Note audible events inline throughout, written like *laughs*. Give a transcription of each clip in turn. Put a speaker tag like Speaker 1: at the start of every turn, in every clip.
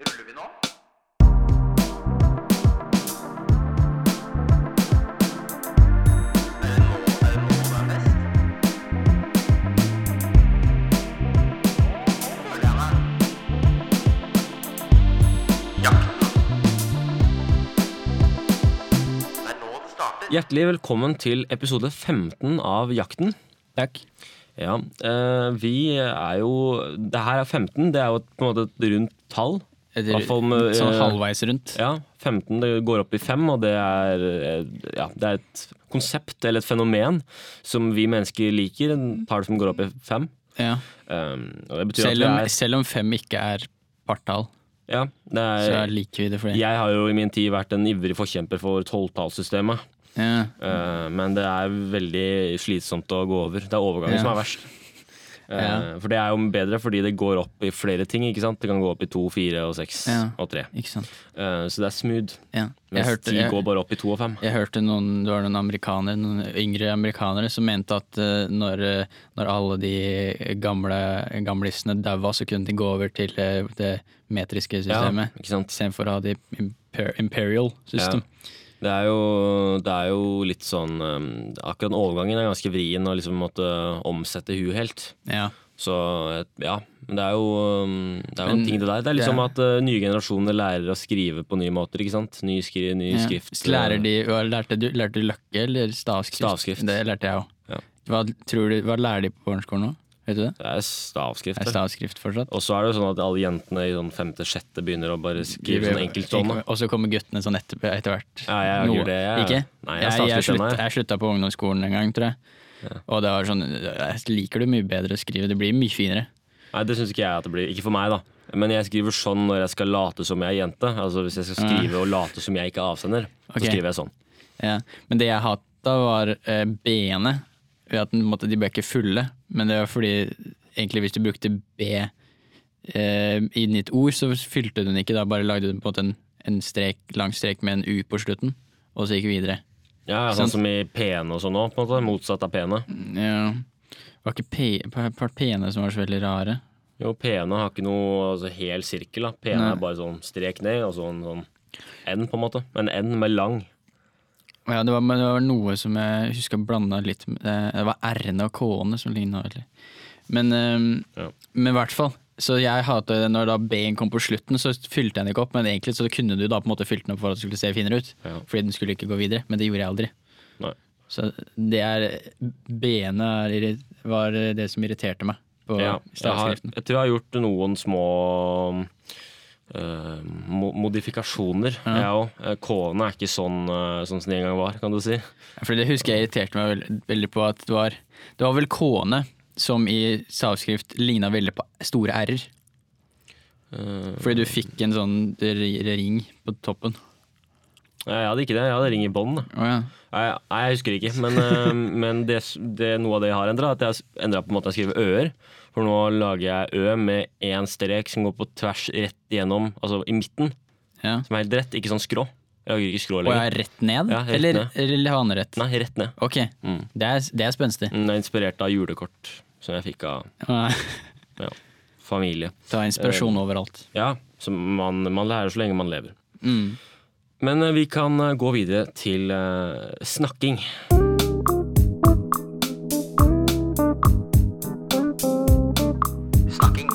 Speaker 1: Ruller vi nå?
Speaker 2: Hjertelig velkommen til episode 15 av Jakten.
Speaker 3: Takk.
Speaker 2: Ja, eh, vi er jo Det her er 15, det er jo et- på en måte et rundt tall.
Speaker 3: Etter,
Speaker 2: Hvert fall med,
Speaker 3: sånn
Speaker 2: eh,
Speaker 3: halvveis rundt.
Speaker 2: Ja, 15 det går opp i 5, og det er, eh, ja, det er et konsept eller et fenomen som vi mennesker liker. En tall som går opp i 5.
Speaker 3: Ja.
Speaker 2: og det betyr
Speaker 3: Selv, om,
Speaker 2: at det er,
Speaker 3: selv om fem ikke er partall,
Speaker 2: ja, det
Speaker 3: så
Speaker 2: er
Speaker 3: liker vi det for det.
Speaker 2: Jeg har jo i min tid vært en ivrig forkjemper for tolvtallssystemet.
Speaker 3: Ja.
Speaker 2: Eh, men det er veldig slitsomt å gå over. Det er overgangen
Speaker 3: Ja.
Speaker 2: som er verst. Eh, For det er jo bedre fordi det går opp i flere ting. ikke sant? Det kan gå opp i to, fire, og seks
Speaker 3: Ja.
Speaker 2: og tre.
Speaker 3: Ikke sant.
Speaker 2: Eh, Så det er smooth.
Speaker 3: Ja. Jeg,
Speaker 2: Mens
Speaker 3: hørte,
Speaker 2: ti
Speaker 3: jeg,
Speaker 2: går bare opp i to og fem.
Speaker 3: jeg hørte noen, det var noen amerikanere, noen yngre amerikanere som mente at eh, når, eh, når alle de gamle gamlissene daua, så kunne de gå over til eh, det metriske systemet.
Speaker 2: ikke sant?
Speaker 3: Istedenfor å ha det imper imperial system.
Speaker 2: Det er jo, det er jo litt sånn eh, Akkurat den overgangen er ganske vrien å liksom måtte omsette huet helt.
Speaker 3: Ja.
Speaker 2: Så et- ja. Men det er jo, um, det er jo
Speaker 3: Men
Speaker 2: en ting det der. Det er
Speaker 3: det
Speaker 2: liksom
Speaker 3: er-
Speaker 2: at eh, nye generasjoner lærer å skrive på nye måter. ikke sant? Ny, skri, ny
Speaker 3: Ja.
Speaker 2: skrift. eh,
Speaker 3: Så lærer de, hva lærte, du, lærte du løkke eller stavskrift?
Speaker 2: Stavskrift.
Speaker 3: Det lærte jeg òg.
Speaker 2: Ja.
Speaker 3: Hva, tror du- hva lærer de på barneskolen nå? Vet du det?
Speaker 2: Det er stavskrift.
Speaker 3: Er
Speaker 2: det.
Speaker 3: stavskrift fortsatt?
Speaker 2: Og så er det jo sånn at alle jentene i sånn femte-sjette begynner å bare skrive sånn enkeltstående.
Speaker 3: Og så kommer guttene sånn etter, etter hvert.
Speaker 2: Ja, jeg har ikke gjort det, jeg.
Speaker 3: Ikke?
Speaker 2: Nei, jeg har
Speaker 3: jeg, jeg,
Speaker 2: stavskrift ennå,
Speaker 3: slutta-
Speaker 2: jeg.
Speaker 3: jeg slutta på ungdomsskolen en gang, tror jeg. Og det var sånn Jeg liker det mye bedre å skrive. Det blir mye finere.
Speaker 2: Nei, det syns ikke jeg at det blir. Ikke for meg, da. Men jeg skriver sånn når jeg skal late som jeg er jente. Altså Hvis jeg skal skrive og late som jeg ikke er avsender, så
Speaker 3: Mm. Ok.
Speaker 2: skriver jeg sånn.
Speaker 3: Ja. Men det jeg hata, var eh, B-ene. Ved at den måtte, de ble ikke fulle. Men det var fordi egentlig hvis du brukte B eh, i ditt ord, så fylte du den ikke. Da bare lagde du på en måte en, en strek, lang strek med en U på slutten, og så gikk vi videre.
Speaker 2: Ja, ja,
Speaker 3: Sant.
Speaker 2: Sånn som i pene og sånn òg, på en måte. Motsatt av pene.
Speaker 3: Ja. Det var ikke P- p- p- P-ene som var så veldig rare.
Speaker 2: Jo, pene har ikke noe altså, hel sirkel. da Pene
Speaker 3: Nei.
Speaker 2: er bare sånn strek ned og sånn, sånn N, på en måte. En N med lang.
Speaker 3: Ja, det var, men det var noe som jeg husker blanda litt med eh, Det var R-ene og K-ene som ligna veldig. Men, ehm,
Speaker 2: Ja.
Speaker 3: men i hvert fall. Så jeg hatet det når da B-en kom på slutten, så fylte jeg den ikke opp. Men egentlig så kunne du da på en måte fylt den opp for at det skulle se finere ut.
Speaker 2: Ja.
Speaker 3: Fordi den skulle ikke gå videre. Men det gjorde jeg aldri.
Speaker 2: Nei.
Speaker 3: Så det er B-ene er irri- var det som irriterte meg på
Speaker 2: Ja, jeg, har,
Speaker 3: stavskriften.
Speaker 2: jeg tror jeg har gjort noen små eh, mo modifikasjoner, jeg òg. K-ene er ikke sånn, eh, sånn som de en gang var, kan du si.
Speaker 3: For det husker jeg irriterte meg veldig, veldig på at det var, det var vel K-ene som i stavskrift ligna veldig på store R-er.
Speaker 2: Eh,
Speaker 3: Fordi du fikk en sånn ri- ring på toppen.
Speaker 2: jeg hadde ikke det. Jeg hadde ring i bånd.
Speaker 3: Å ja.
Speaker 2: Nei, nei, jeg husker ikke. Men, eh, *laughs* men det, det, noe av det jeg har endra, at jeg har endra på en måte jeg skriver ø-er. For nå lager jeg ø med én strek som går på tvers rett igjennom, altså i midten.
Speaker 3: ja.
Speaker 2: Som er helt rett, ikke sånn skrå. Jeg lager ikke skrå
Speaker 3: Og jeg
Speaker 2: lenger.
Speaker 3: er rett ned?
Speaker 2: Ja, rett
Speaker 3: eller,
Speaker 2: ned.
Speaker 3: eller hanerett?
Speaker 2: Nei, rett ned.
Speaker 3: Ok,
Speaker 2: Mm.
Speaker 3: det er, det er spenstig.
Speaker 2: Den er inspirert av julekort som jeg fikk av ja, familie.
Speaker 3: Ta inspirasjon
Speaker 2: Eh.
Speaker 3: overalt.
Speaker 2: Ja, som man, man lærer så lenge man lever.
Speaker 3: Mm.
Speaker 2: Men eh, vi kan eh, gå videre til eh, snakking.
Speaker 1: Snakking.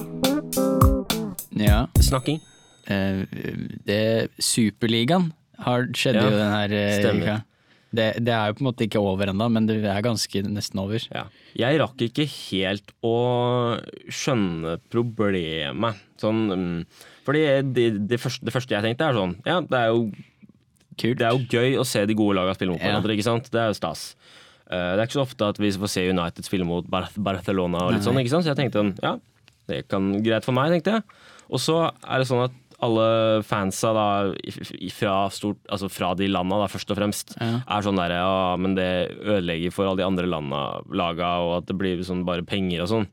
Speaker 3: Ja.
Speaker 2: Snakking.
Speaker 3: eh, Det, Superligaen har skjedd
Speaker 2: Ja,
Speaker 3: jo den her eh,
Speaker 2: stemmer.
Speaker 3: uka. Det, det er jo på en måte ikke over ennå, men det er ganske nesten over.
Speaker 2: Ja. Jeg rakk ikke helt å skjønne problemet. Sånn, mm, fordi det, det, første, det første jeg tenkte, er sånn Ja, det er jo,
Speaker 3: Kult.
Speaker 2: det er jo gøy å se de gode lagene spille mot
Speaker 3: Ja.
Speaker 2: hverandre. ikke sant? Det er jo stas. Eh, det er ikke så ofte at vi får se United spille mot Bar Barcelona og litt sånn. ikke sant? Så jeg tenkte sånn, ja, det kan greit for meg, tenkte jeg. Og så er det sånn at alle fansa da, i- i- fra, stort, altså fra de landa, da, først og fremst,
Speaker 3: Ja.
Speaker 2: er sånn derre Ja, men det ødelegger for alle de andre landa, laga, og at det blir sånn bare penger og sånn.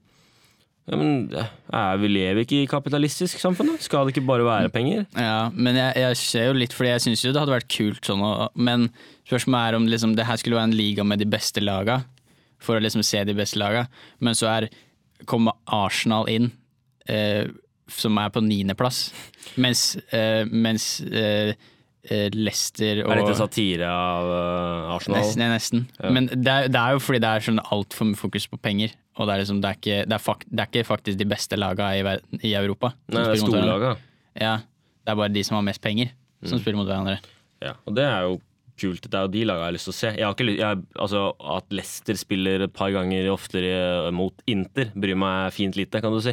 Speaker 2: Ja, men er, Vi lever ikke i kapitalistisk samfunn, da. Skal det ikke bare være penger?
Speaker 3: Ja, men jeg, jeg ser jo litt, fordi jeg syns jo det hadde vært kult sånn, å- men spørsmålet er om liksom, det her skulle være en liga med de beste laga, for å liksom se de beste laga, men så er kommer Arsenal inn eh, som er på niendeplass. Mens, eh, mens eh, eh, Leicester og
Speaker 2: Er dette satire av eh, Arsenal?
Speaker 3: Nesten, ja, nesten. Men det er, det er jo fordi det er sånn altfor mye fokus på penger. Og det er, liksom, det er, ikke, det er, fak, det er ikke faktisk de beste laga i, verden, i Europa. som
Speaker 2: Nei, det er
Speaker 3: spiller mot hverandre.
Speaker 2: storlaga.
Speaker 3: Ja, det er bare de som har mest penger, som spiller mot hverandre.
Speaker 2: Ja, og det er jo kult. Det er jo de lagene jeg har lyst til å se. Jeg har ikke lyst, jeg, altså, at Leicester spiller et par ganger oftere mot Inter, bryr meg fint lite, kan du si.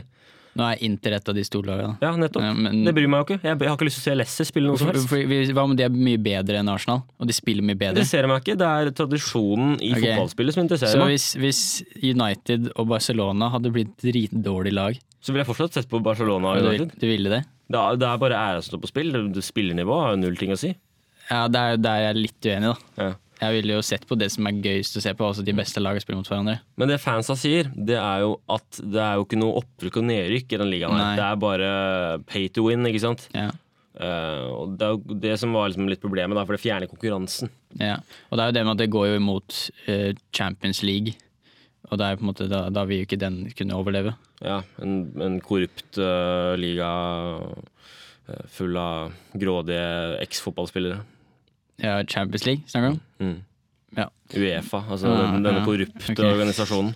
Speaker 3: Nå er Inter et av de storlagene.
Speaker 2: Ja, nettopp.
Speaker 3: Ja, men-
Speaker 2: Det bryr meg jo ikke. Jeg, jeg har ikke lyst til å se Leicester spille noe som helst.
Speaker 3: For- for- Hva om de er mye bedre enn Arsenal, og de spiller mye
Speaker 2: Det
Speaker 3: bedre?
Speaker 2: interesserer meg ikke. Det er tradisjonen i
Speaker 3: Ok.
Speaker 2: fotballspillet som interesserer
Speaker 3: Så
Speaker 2: meg.
Speaker 3: hvis, hvis United og Barcelona hadde blitt dritdårlig lag,
Speaker 2: Så vil jeg fortsatt sett på Barcelona. og
Speaker 3: og du, vil-
Speaker 2: United.
Speaker 3: du ville det?
Speaker 2: Det er, det er bare æra som står på spill. Det- det- Spillernivå har jo null ting å si.
Speaker 3: Ja, det er jo der jeg er litt uenig, da.
Speaker 2: Ja.
Speaker 3: Jeg ville jo sett på det som er gøyest å se på, altså de
Speaker 2: Mm.
Speaker 3: beste lagene spiller mot hverandre.
Speaker 2: Men det fansa sier, det er jo at det er jo ikke noe opprykk og nedrykk i den ligaen.
Speaker 3: Nei.
Speaker 2: her. Det er bare pay to win, ikke sant.
Speaker 3: Ja.
Speaker 2: Eh, og det er jo det som var liksom litt problemet, da, for det fjerner konkurransen.
Speaker 3: Ja, og det er jo det med at det går jo imot eh, Champions League, og det er jo på en måte da, da vil jo ikke den kunne overleve.
Speaker 2: Ja, en, en korrupt eh, liga eh, full av grådige eks-fotballspillere.
Speaker 3: Ja, Champions League, snakker du om?
Speaker 2: Mm.
Speaker 3: Ja.
Speaker 2: Uefa, altså
Speaker 3: Ah,
Speaker 2: den, denne
Speaker 3: ja.
Speaker 2: korrupte
Speaker 3: Ok. *laughs*
Speaker 2: organisasjonen.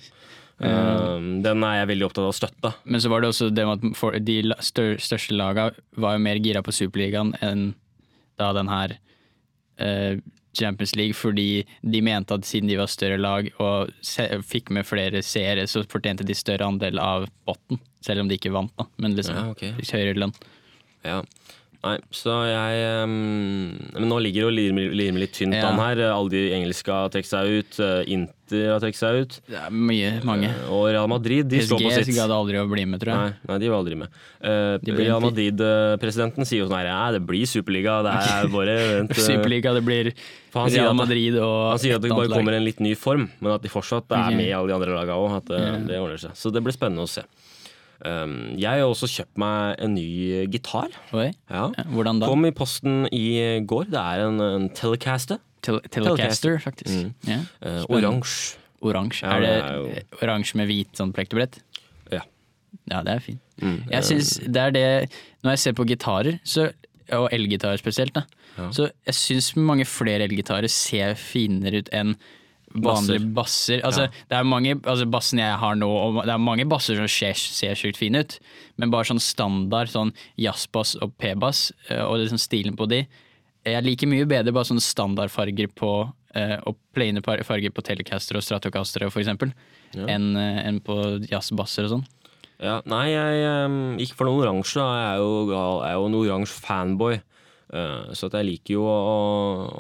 Speaker 2: Eh, den er jeg veldig opptatt av å støtte.
Speaker 3: Men så var det også det med at for, de la- stør, største laga var jo mer gira på Superligaen enn da den her eh, Champions League, fordi de mente at siden de var større lag og se, fikk med flere seere, så fortjente de større andel av potten, selv om de ikke vant, da. Men liksom
Speaker 2: Ja, ok.
Speaker 3: litt høyere lønn.
Speaker 2: Ja. Nei, så jeg eh, Men nå ligger jo Lirme, Lirme litt tynt
Speaker 3: Ja.
Speaker 2: an her. Alle de engelske har trukket seg ut. eh, Inter har trukket seg ut. eh,
Speaker 3: Det er mye, mange.
Speaker 2: Og Real Madrid, de står
Speaker 3: PSG
Speaker 2: på sitt.
Speaker 3: gadd aldri å bli med, tror jeg.
Speaker 2: Nei, nei, de var aldri med. Eh,
Speaker 3: De blir-
Speaker 2: Real Madrid-presidenten sier jo sånn her Nei, det blir superliga. Det
Speaker 3: *laughs*
Speaker 2: her er bare vent, eh,
Speaker 3: Superliga, det blir
Speaker 2: for han sier
Speaker 3: Real
Speaker 2: at-
Speaker 3: Madrid og
Speaker 2: Han sier at det bare
Speaker 3: et annet lag. Mhm.
Speaker 2: kommer en litt ny form, men at de fortsatt er
Speaker 3: Ok.
Speaker 2: med i alle de andre lagene òg. At eh, det ordner seg. Så det blir spennende å se. Um, jeg har også kjøpt meg en ny eh, gitar.
Speaker 3: Oi.
Speaker 2: Ja.
Speaker 3: Ja, Hvordan da?
Speaker 2: Kom i posten i går. Det er en, en Telecaster.
Speaker 3: Tel
Speaker 2: Telecaster.
Speaker 3: Telecaster, faktisk. Ja.
Speaker 2: Eh,
Speaker 3: Spennende.
Speaker 2: Oransje.
Speaker 3: Oransje.
Speaker 2: Ja,
Speaker 3: er det,
Speaker 2: det er jo-
Speaker 3: oransje med hvit sånn plektebrett?
Speaker 2: Ja.
Speaker 3: Mm. Ja, det er fint. Jeg synes det er det Når jeg ser på gitarer, så, og elgitarer spesielt, da, så jeg syns mange flere elgitarer ser finere ut enn vanlige basser. Altså, det er mange, altså Bassen jeg har nå, og det er mange basser som ser, ser sjukt fine ut, men bare sånn standard sånn jazzbass og p-bass, eh, og liksom stilen på de Jeg liker mye bedre bare sånne standardfarger på eh, og plaine par- farger på Telecaster og Stratocastere for eksempel, enn eh, enn på jazzbasser og sånn.
Speaker 2: Ja, nei, jeg em, gikk for noe oransje. da. Jeg er jo, gal- jeg er jo en oransje fanboy. Eh, så at jeg liker jo å,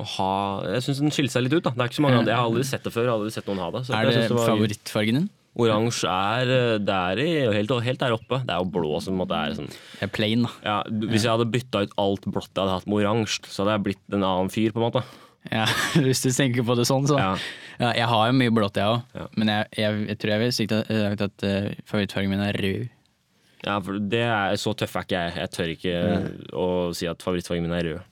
Speaker 2: å ha Jeg syns den skiller seg litt ut. da Det er ikke så mange andre. Jeg har aldri sett det før. Jeg har aldri sett noen ha det. Så
Speaker 3: Er
Speaker 2: jeg
Speaker 3: det
Speaker 2: synes var gøy.
Speaker 3: favorittfargen din?
Speaker 2: Oransje er eh, det er i- helt, helt der oppe. Det er jo blå som på en måte er sånn
Speaker 3: Det er plain, da.
Speaker 2: ja, du- Hvis jeg hadde bytta ut alt blått jeg hadde hatt med oransje, så hadde jeg blitt en annen fyr, på en måte.
Speaker 3: Ja, *laughs* hvis du tenker på det sånn, så. Ja.
Speaker 2: Ja.
Speaker 3: jeg har jo mye blått, jeg òg.
Speaker 2: Ja.
Speaker 3: Men jeg, jeg, jeg tror jeg ville sagt at, at eh, favorittfargen min er rød.
Speaker 2: Ja, for det er, Så tøff er ikke jeg. Jeg tør ikke å si at favorittfargen min er rød.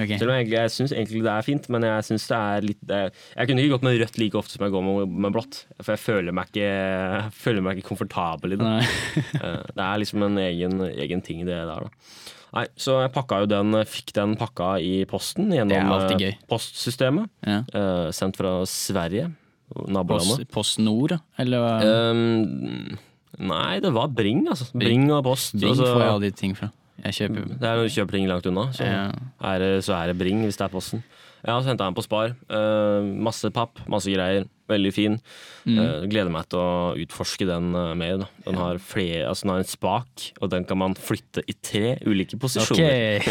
Speaker 3: Ok.
Speaker 2: Selv om jeg, jeg syns egentlig det er fint, men jeg synes det er litt det, er- Jeg kunne ikke gått med rødt like ofte som jeg går med, med blått. For jeg føler meg ikke, *laughs* jeg føler meg ikke komfortabel i
Speaker 3: *laughs*
Speaker 2: det.
Speaker 3: Nei.
Speaker 2: *laughs* Eh, Det er liksom en egen, egen ting, det der, da. Nei, så jeg pakka jo den, fikk den pakka i posten
Speaker 3: Det er
Speaker 2: gjennom
Speaker 3: alltid
Speaker 2: eh,
Speaker 3: gøy.
Speaker 2: postsystemet.
Speaker 3: Ja.
Speaker 2: eh, sendt fra Sverige, nabolandet.
Speaker 3: Post, post Nord, da? Eller hva?
Speaker 2: Eh, nei, det var Bring, altså.
Speaker 3: Bring.
Speaker 2: Bring og post. altså.
Speaker 3: Bing
Speaker 2: og så-
Speaker 3: får jeg alle de ting fra. Jeg kjøper
Speaker 2: Det er når du kjøper ting langt unna, så,
Speaker 3: Ja.
Speaker 2: er, det- så er det bring hvis det er posten. Ja, så henta jeg den på Spar. Eh, masse papp, masse greier. Veldig fin.
Speaker 3: Mm.
Speaker 2: Eh, gleder meg til å utforske den eh, mer. Da. Den, har flere, altså, den har en spak, og den kan man flytte i tre ulike
Speaker 3: Ok,
Speaker 2: posisjoner.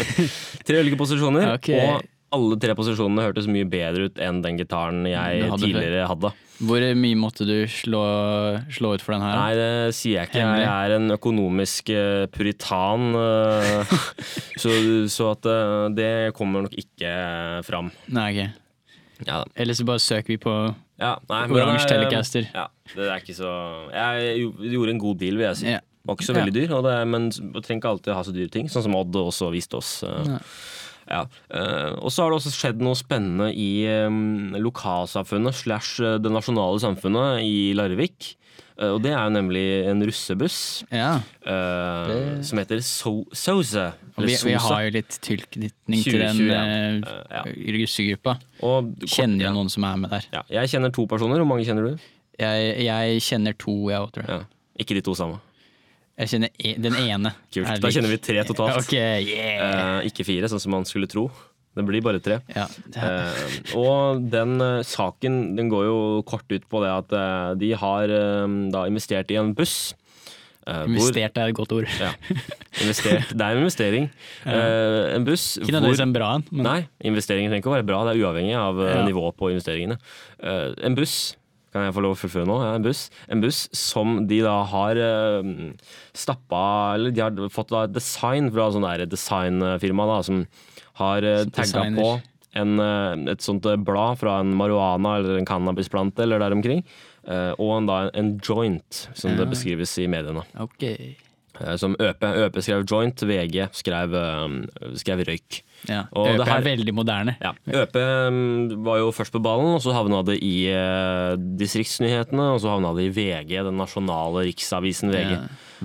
Speaker 2: Tre ulike posisjoner,
Speaker 3: Ok.
Speaker 2: og alle tre posisjonene hørtes mye bedre ut enn den gitaren jeg
Speaker 3: Du hadde
Speaker 2: tidligere hadde.
Speaker 3: *laughs* Hvor mye måtte du slå, slå ut for den her? da?
Speaker 2: Nei, det sier jeg ikke.
Speaker 3: Hemmelig.
Speaker 2: Jeg er en økonomisk eh, puritan. eh, *laughs* Så, så at eh, det kommer nok ikke fram.
Speaker 3: Nei, ok.
Speaker 2: Ja,
Speaker 3: Eller så bare søker vi på
Speaker 2: ja, nei, men
Speaker 3: Oransje
Speaker 2: det er, eh,
Speaker 3: Telecaster.
Speaker 2: Ja, det er ikke så Jeg jo- gjorde en god deal, vil jeg si.
Speaker 3: Ja.
Speaker 2: Det var ikke så veldig dyr, og det, er- men du trenger ikke alltid ha så dyre ting, sånn som Odd også viste oss. eh. Ja. eh, og så har det også skjedd noe spennende i eh, lokalsamfunnet slash eh, det nasjonale samfunnet i Larvik. Eh, og det er jo nemlig en russebuss
Speaker 3: Ja.
Speaker 2: eh,
Speaker 3: Det-
Speaker 2: som heter so Sosa.
Speaker 3: Og vi, vi har jo litt tilknytning til den
Speaker 2: 2021,
Speaker 3: uh,
Speaker 2: ja.
Speaker 3: russegruppa.
Speaker 2: og,
Speaker 3: Kjenner jo noen som er med der.
Speaker 2: Ja, jeg kjenner to personer. Hvor mange kjenner du?
Speaker 3: Jeg, jeg kjenner to, jeg òg, tror jeg.
Speaker 2: Ja. Ikke de to samme.
Speaker 3: Jeg kjenner e den ene.
Speaker 2: Kult.
Speaker 3: Er
Speaker 2: Da
Speaker 3: lik-
Speaker 2: kjenner vi tre totalt.
Speaker 3: Ok, yeah.
Speaker 2: Eh, ikke fire, sånn som man skulle tro. Det blir bare tre.
Speaker 3: Ja, det er-
Speaker 2: Eh, og den eh, saken den går jo kort ut på det at eh, de har eh, da investert i en buss. eh, hvor-
Speaker 3: investert er et godt ord.
Speaker 2: Ja. Investert. Det er en investering. Eh, en buss
Speaker 3: *laughs* Ikke nødvendigvis en bra en, men
Speaker 2: Nei, investeringer trenger ikke å være bra. Det er uavhengig av eh,
Speaker 3: Ja.
Speaker 2: nivået på investeringene. Eh, en buss kan jeg få lov å fullføre nå? Ja, en, buss. en buss som de da har uh, stappa Eller de har fått da et design fra sånn der designfirma da, som har uh, tagga
Speaker 3: designer.
Speaker 2: på en, eh, et sånt eh, blad fra en marihuana eller en cannabisplante eller der omkring. eh, og en, da en joint, som det beskrives i mediene.
Speaker 3: ok.
Speaker 2: Eh, som ØP. ØP skrev joint, VG skrev, eh, skrev røyk.
Speaker 3: Ja.
Speaker 2: Og
Speaker 3: ØP
Speaker 2: det her-
Speaker 3: er veldig moderne.
Speaker 2: Ja. ØP mm, var jo først på ballen, og så havna det i eh, distriktsnyhetene, og så havna det i VG, den nasjonale riksavisen VG.
Speaker 3: Ja.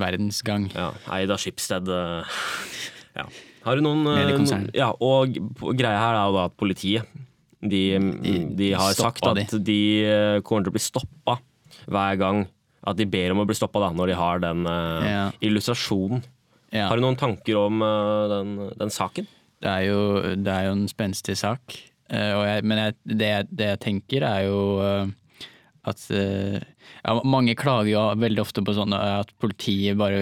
Speaker 3: Verdensgang.
Speaker 2: Ja, Eid av Schibsted. eh, *laughs* Ja. Har du noen eh,
Speaker 3: Mediekonsern.
Speaker 2: noen- Ja, og p- greia her er jo da at politiet de, mm, de har
Speaker 3: stoppa
Speaker 2: sagt at de eh, kommer til å bli stoppa hver gang. At de ber om å bli stoppa da, når de har den eh,
Speaker 3: Ja.
Speaker 2: illustrasjonen.
Speaker 3: Ja.
Speaker 2: Eh, Har du noen tanker om eh, den, den saken?
Speaker 3: Det er jo, det er jo en spenstig sak. eh, og jeg, men jeg, det, jeg- det jeg tenker er jo eh, at eh, ja, Mange klager jo veldig ofte på sånn eh, at politiet bare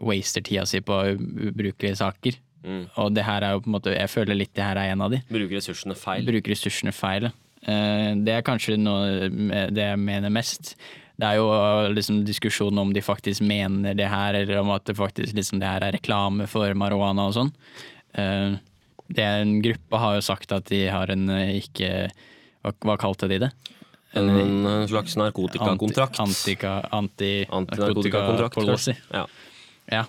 Speaker 3: waster tida si på u- ubrukelige saker. Og det her er jo på en måte Jeg føler litt det her er en av de.
Speaker 2: Bruker ressursene feil?
Speaker 3: Bruker ressursene feil. ja. Eh, det er kanskje noe med- det jeg mener mest. Det er jo eh, liksom diskusjonen om de faktisk mener det her, eller om at det faktisk liksom det her er reklame for marihuana og sånn. Eh, det er en gruppe har jo sagt at de har en eh, ikke Hva, hva kalte de det?
Speaker 2: En, en slags narkotikakontrakt.
Speaker 3: Anti, anti,
Speaker 2: Antinarkotikakontrakt.
Speaker 3: policy.
Speaker 2: kanskje. Ja.
Speaker 3: Ja.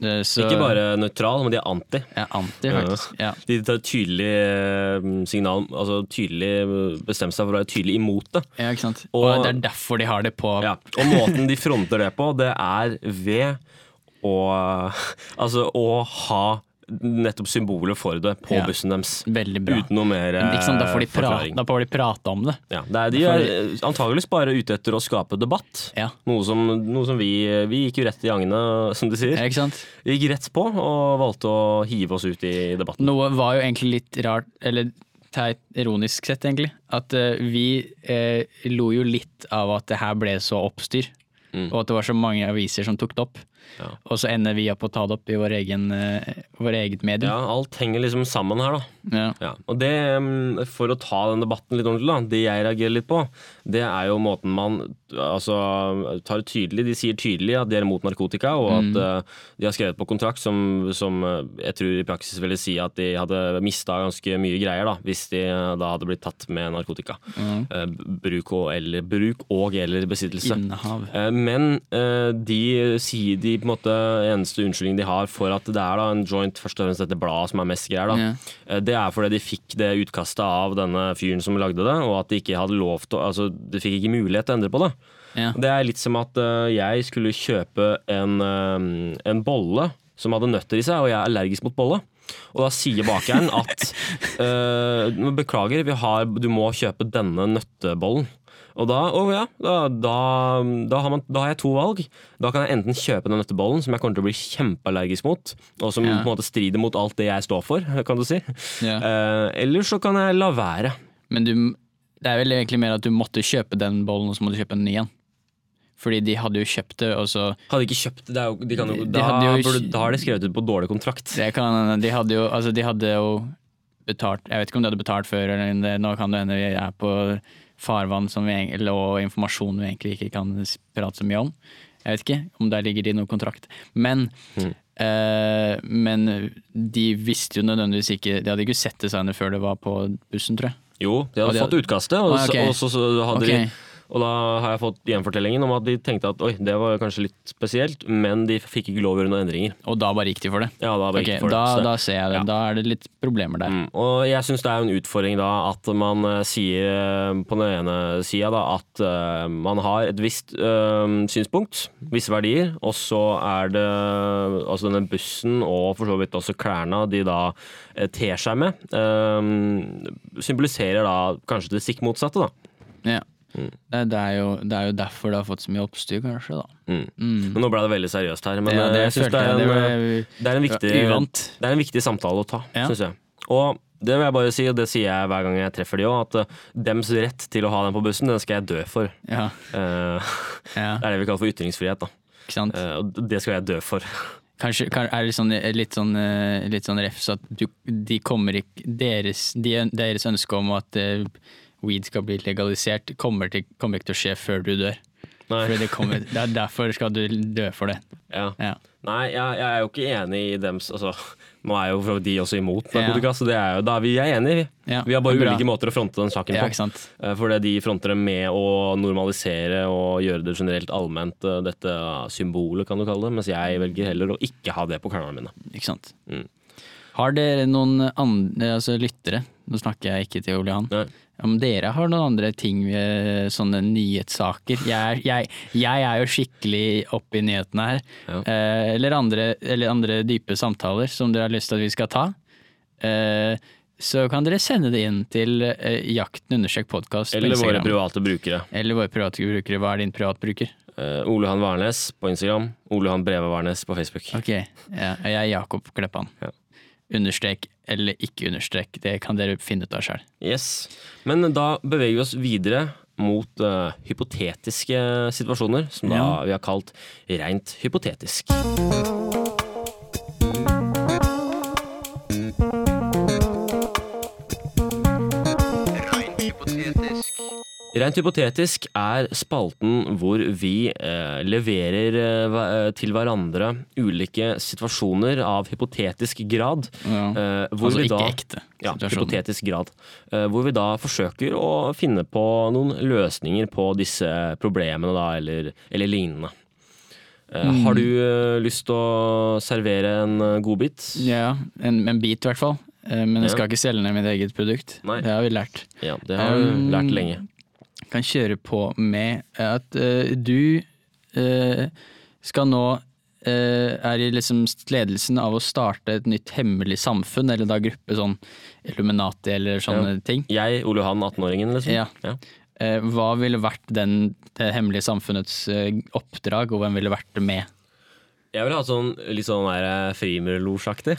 Speaker 3: Det- så-
Speaker 2: Ikke bare nøytral, men de er anti.
Speaker 3: ja, Anti, faktisk. Ja.
Speaker 2: De tar tydelig eh, signal, altså tydelig bestemt seg for å være tydelig imot det.
Speaker 3: ja, ikke sant. Og,
Speaker 2: Og-
Speaker 3: det er derfor de har det på
Speaker 2: Ja. Og måten de fronter det på, det er ved å *laughs* Altså å ha nettopp symbolet for det på
Speaker 3: Ja.
Speaker 2: bussen deres.
Speaker 3: veldig bra.
Speaker 2: Uten noe mer eh,
Speaker 3: Men Ikke sant? Da får de prate,
Speaker 2: forklaring.
Speaker 3: da får de prate om det.
Speaker 2: Ja, det er, de
Speaker 3: Da
Speaker 2: er
Speaker 3: får
Speaker 2: eh, antageligvis bare ute etter å skape debatt.
Speaker 3: Ja.
Speaker 2: Noe som, noe som vi Vi gikk jo rett i jangene, som de
Speaker 3: Ja,
Speaker 2: sier.
Speaker 3: ikke sant?
Speaker 2: Vi gikk rett på og valgte å hive oss ut i debatten.
Speaker 3: Noe var jo egentlig litt rart, eller teit, ironisk sett, egentlig. At eh, vi eh, lo jo litt av at det her ble så oppstyr. Og at det var så mange aviser som tok det opp.
Speaker 2: Ja.
Speaker 3: Og så ender vi opp å ta det opp i vår egen, eh, vår eget
Speaker 2: Ja,
Speaker 3: medium.
Speaker 2: alt henger liksom sammen her, da.
Speaker 3: Ja.
Speaker 2: Ja, og det, mm, For å ta den debatten litt ordentlig, da, det jeg reagerer litt på, det er jo måten man altså, tar tydelig De sier tydelig at de er imot narkotika, og at eh, de har skrevet på kontrakt som, som eh, jeg tror i praksis ville si at de hadde mista ganske mye greier da, hvis de eh, da hadde blitt tatt med narkotika. Eh, bruk, og, eller, bruk og eller besittelse.
Speaker 3: Innehav.
Speaker 2: Eh, Men eh, de sier de på en måte eneste unnskyldningen de har for at det er da en joint, først og fremst dette bladet som er mest greier, da.
Speaker 3: Ja.
Speaker 2: Eh, Det er fordi de fikk det utkastet av denne fyren som lagde det, og at de ikke hadde lov til å- Altså, de fikk ikke mulighet til å endre på det.
Speaker 3: Ja.
Speaker 2: Det er litt som at eh, jeg skulle kjøpe en, eh, en bolle som hadde nøtter i seg, og jeg er allergisk mot bolle. Og da sier bakeren at
Speaker 3: *laughs*
Speaker 2: eh, «Men beklager, vi har, du må kjøpe denne nøttebollen. Og da, å ja, da, da, da, har man, da har jeg to valg. Da kan jeg enten kjøpe den nøttebollen, som jeg kommer til å bli kjempeallergisk mot, og som
Speaker 3: Ja.
Speaker 2: på en måte strider mot alt det jeg står for, *laughs* kan du si.
Speaker 3: Ja.
Speaker 2: Eh, eller så kan jeg la være.
Speaker 3: Men du, det er vel egentlig mer at du måtte kjøpe den bollen, og så må du kjøpe en ny en. Fordi de hadde jo kjøpt det, og så
Speaker 2: Hadde ikke kjøpt det, er jo- de kan jo,
Speaker 3: De
Speaker 2: da,
Speaker 3: hadde jo-
Speaker 2: burde, da har de skrevet ut på dårlig kontrakt.
Speaker 3: Det kan, de hadde jo Altså de hadde jo betalt Jeg vet ikke om de hadde betalt før eller om det, Nå kan det hende vi er på farvann som vi, egen- eller, og informasjon vi egentlig ikke kan s- prate så mye om Jeg vet ikke om der ligger det i noen kontrakt Men
Speaker 2: Mm.
Speaker 3: eh, Men de visste jo nødvendigvis ikke De hadde ikke sett designet før det var på bussen, tror jeg
Speaker 2: Jo, de
Speaker 3: Og
Speaker 2: hadde
Speaker 3: de
Speaker 2: fått utkastet, og,
Speaker 3: Ah, ok.
Speaker 2: så, og så, så hadde
Speaker 3: Ok.
Speaker 2: de Og da har jeg fått gjenfortellingen om at de tenkte at oi, det var kanskje litt spesielt, men de fikk ikke lov å gjøre noen endringer.
Speaker 3: Og da bare gikk de for det?
Speaker 2: Ja, da var
Speaker 3: Ok,
Speaker 2: det ikke for
Speaker 3: da,
Speaker 2: det. Så-
Speaker 3: da ser jeg det.
Speaker 2: ja.
Speaker 3: Da er det litt problemer der.
Speaker 2: Mm, og jeg syns det er jo en utfordring da at man eh, sier eh, på den ene sida da at eh, man har et visst eh, synspunkt, visse verdier, og så er det altså denne bussen og for så vidt også klærne de da eh, ter seg med, eh, symboliserer da kanskje det stikk motsatte, da.
Speaker 3: Ja.
Speaker 2: Mm.
Speaker 3: Det, det, er jo, det er jo derfor det har fått så mye oppstyr, kanskje. da.
Speaker 2: Mm. Men nå ble det veldig seriøst her, men
Speaker 3: Ja,
Speaker 2: eh, jeg syns det, er
Speaker 3: følte jeg.
Speaker 2: en, eh,
Speaker 3: det var-
Speaker 2: det er en viktig
Speaker 3: ja, uvant.
Speaker 2: Det er en viktig samtale å ta,
Speaker 3: Ja.
Speaker 2: synes syns jeg. Og det vil jeg bare si, og det sier jeg hver gang jeg treffer de òg, at eh, dems rett til å ha den på bussen, den skal jeg dø for.
Speaker 3: Ja,
Speaker 2: Eh,
Speaker 3: ja,
Speaker 2: *laughs* det er det vi kaller for ytringsfrihet, da.
Speaker 3: ikke sant?
Speaker 2: Eh, og det skal jeg dø for. *laughs*
Speaker 3: Kanskje kan- er det sånn, litt, sånn, eh, litt sånn refs at du, de kommer ikke deres, de, deres ønske om at eh, weed skal bli legalisert, kommer, til, kommer ikke til å skje før du dør. Fordi
Speaker 2: Nei,
Speaker 3: det, kommer, det er derfor skal du dø for det.
Speaker 2: ja.
Speaker 3: Ja.
Speaker 2: Nei jeg, jeg er jo ikke enig i dems altså, Nå er jo for så vidt de også imot
Speaker 3: Ja.
Speaker 2: narkotika, så det er jo, da er vi er enige, vi.
Speaker 3: Ja,
Speaker 2: Vi har bare
Speaker 3: bra.
Speaker 2: ulike måter å fronte den saken
Speaker 3: Ja,
Speaker 2: på.
Speaker 3: ikke sant?
Speaker 2: Eh, Fordi de fronter det med å normalisere og gjøre det generelt allment, eh, dette symbolet, kan du kalle det, mens jeg velger heller å ikke ha det på klærne mine.
Speaker 3: Ikke sant?
Speaker 2: Mm.
Speaker 3: Har dere noen andre altså lyttere, nå snakker jeg ikke til Ole Johan,
Speaker 2: Nei.
Speaker 3: om dere har noen andre ting, eh, sånne nyhetssaker? Jeg er, jeg, jeg er jo skikkelig oppe i nyhetene her.
Speaker 2: Ja.
Speaker 3: Eh, eller, andre, eller andre dype samtaler som dere har lyst til at vi skal ta. Eh, så kan dere sende det inn til eh, Jakten undersøk podkast på
Speaker 2: Eller våre
Speaker 3: Instagram.
Speaker 2: private brukere.
Speaker 3: eller våre private brukere. Hva er din privatbruker?
Speaker 2: Eh, Ole Johan Wærnes på Instagram. Ole Johan Breve Wærnes på Facebook.
Speaker 3: Ok, ja, jeg er Jakob Kleppan.
Speaker 2: Ja.
Speaker 3: Understrek eller ikke understrek, det kan dere finne ut av sjøl.
Speaker 2: Yes. Men da beveger vi oss videre mot eh, hypotetiske eh, situasjoner, som da
Speaker 3: Ja.
Speaker 2: vi har kalt rent hypotetisk.
Speaker 1: Rein hypothetisch.
Speaker 2: Rent hypotetisk er spalten hvor vi eh, leverer eh, hva- eh, til hverandre ulike situasjoner av hypotetisk grad. eh, hvor
Speaker 3: Altså
Speaker 2: vi
Speaker 3: ikke
Speaker 2: da,
Speaker 3: ekte
Speaker 2: Ja,
Speaker 3: situasjoner.
Speaker 2: hypotetisk grad. Eh, Hvor vi da forsøker å finne på noen løsninger på disse problemene, da, eller, eller lignende. Eh,
Speaker 3: Mm.
Speaker 2: Har du eh, lyst til å servere en eh, godbit?
Speaker 3: Ja, en, en bit i hvert fall. Eh, Men jeg
Speaker 2: Ja.
Speaker 3: skal ikke selge ned mitt eget produkt.
Speaker 2: Nei.
Speaker 3: Det har vi lært.
Speaker 2: Ja, det har du
Speaker 3: Um,
Speaker 2: lært lenge.
Speaker 3: Kan kjøre på med at eh, du eh, skal nå eh, er i liksom ledelsen av å starte et nytt hemmelig samfunn, eller da gruppe sånn Illuminati eller sånne ting.
Speaker 2: Jeg, Ole Johan, 18-åringen, liksom?
Speaker 3: Ja. Eh, Hva ville vært den, det hemmelige samfunnets eh, oppdrag, og hvem ville vært det med?
Speaker 2: Jeg ville hatt sånn litt sånn der, eh, frimurlosjaktig.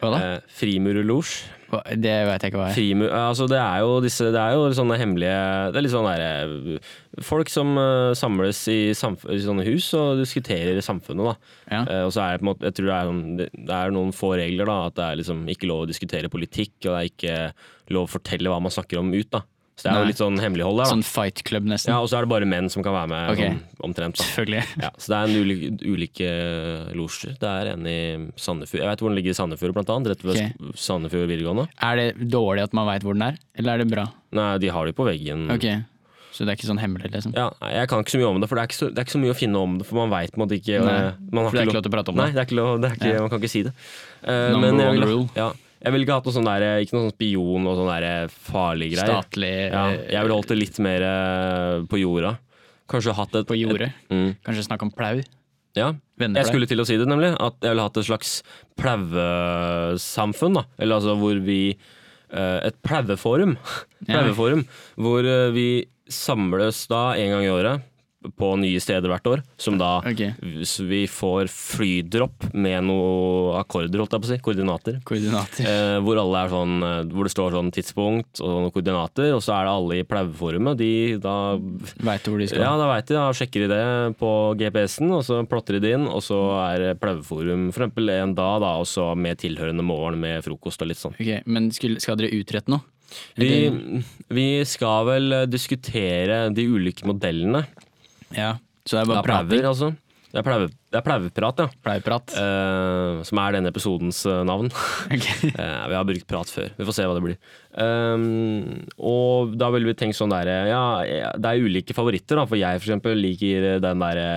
Speaker 3: Hva da?
Speaker 2: Eh, Frimurlosj.
Speaker 3: Hva- Det veit jeg ikke hva er.
Speaker 2: Frimu, altså det er jo disse Det er jo sånne hemmelige Det er litt sånn derre Folk som eh, samles i, samf i sånne hus og diskuterer samfunnet, da.
Speaker 3: Ja.
Speaker 2: Eh, og så er det på en måte Jeg tror det er, sånn, det- det er noen få regler, da. At det er liksom ikke lov å diskutere politikk, og det er ikke lov å fortelle hva man snakker om ut, da. Så det er
Speaker 3: Nei.
Speaker 2: jo litt sånn hemmelighold der, da.
Speaker 3: Sånn fight club, nesten.
Speaker 2: Ja, og så er det bare menn som kan være med,
Speaker 3: Ok.
Speaker 2: sånn, omtrent. da
Speaker 3: Selvfølgelig. *laughs*
Speaker 2: ja, så det er en ulike, ulike losjer. Det er en i Sandefjord. Jeg vet hvor den ligger i Sandefjord, blant annet. Rett ved Sandefjord videregående.
Speaker 3: Er det dårlig at man veit hvor den er, eller er det bra?
Speaker 2: Nei, de har det på veggen.
Speaker 3: Ok, Så det er ikke sånn hemmelig,
Speaker 2: Mm.
Speaker 3: liksom?
Speaker 2: Ja, nei, jeg kan ikke så mye om det, for det er ikke så, det er ikke så mye å finne om det. For man veit på en måte ikke
Speaker 3: Nei,
Speaker 2: eh, man har
Speaker 3: For det er ikke lov til å prate om
Speaker 2: Nei,
Speaker 3: det?
Speaker 2: det er ikke lov, det er ikke, man kan ikke si det. Eh, jeg
Speaker 3: Number one
Speaker 2: ville-
Speaker 3: rule.
Speaker 2: Ja, jeg ville ikke hatt noe sånn der, eh, ikke noe sånn spion og sånn der eh, farlig greier.
Speaker 3: Statlig eh,
Speaker 2: Ja, jeg ville holdt det litt mer eh, på jorda. Kanskje hatt et
Speaker 3: på jordet?
Speaker 2: Mm,
Speaker 3: Kanskje snakke om plau?
Speaker 2: ja.
Speaker 3: Venneplau?
Speaker 2: Jeg skulle til å si det, nemlig. At jeg ville hatt et slags plauesamfunn. da. Eller altså hvor vi eh, Et plaueforum. *laughs*
Speaker 3: Ja.
Speaker 2: Plaueforum. Hvor eh, vi samles da en gang i året på nye steder hvert år. Som da
Speaker 3: Ok.
Speaker 2: s- vi får flydropp med noe akkorder, holdt jeg på å si. Koordinater.
Speaker 3: Koordinater.
Speaker 2: Eh, hvor, alle er sånn, eh, hvor det står sånn tidspunkt og noen koordinater, og så er det alle i plaueforumet. De da
Speaker 3: Veit hvor de skal?
Speaker 2: ja, da veit de. Da sjekker de det på GPS-en, og så plotter de det inn. Og så er det plaueforum for eksempel en dag, da, og så med tilhørende morgen med frokost og litt sånn.
Speaker 3: Ok, Men skulle, skal dere utrette noe?
Speaker 2: Vi,
Speaker 3: Eller-
Speaker 2: vi skal vel eh, diskutere de ulike modellene
Speaker 3: Ja. Så det er
Speaker 2: av
Speaker 3: bare
Speaker 2: plauer,
Speaker 3: prating?
Speaker 2: altså. Det er, pleive, det er Pleiveprat, ja.
Speaker 3: Pleierprat.
Speaker 2: Eh, som er denne episodens eh, navn.
Speaker 3: *laughs* Ok.
Speaker 2: Eh, vi har brukt prat før. Vi får se hva det blir. Ehm, og da ville vi tenkt sånn der eh, Ja, eh, det er ulike favoritter, da. For jeg for eksempel liker eh, den derre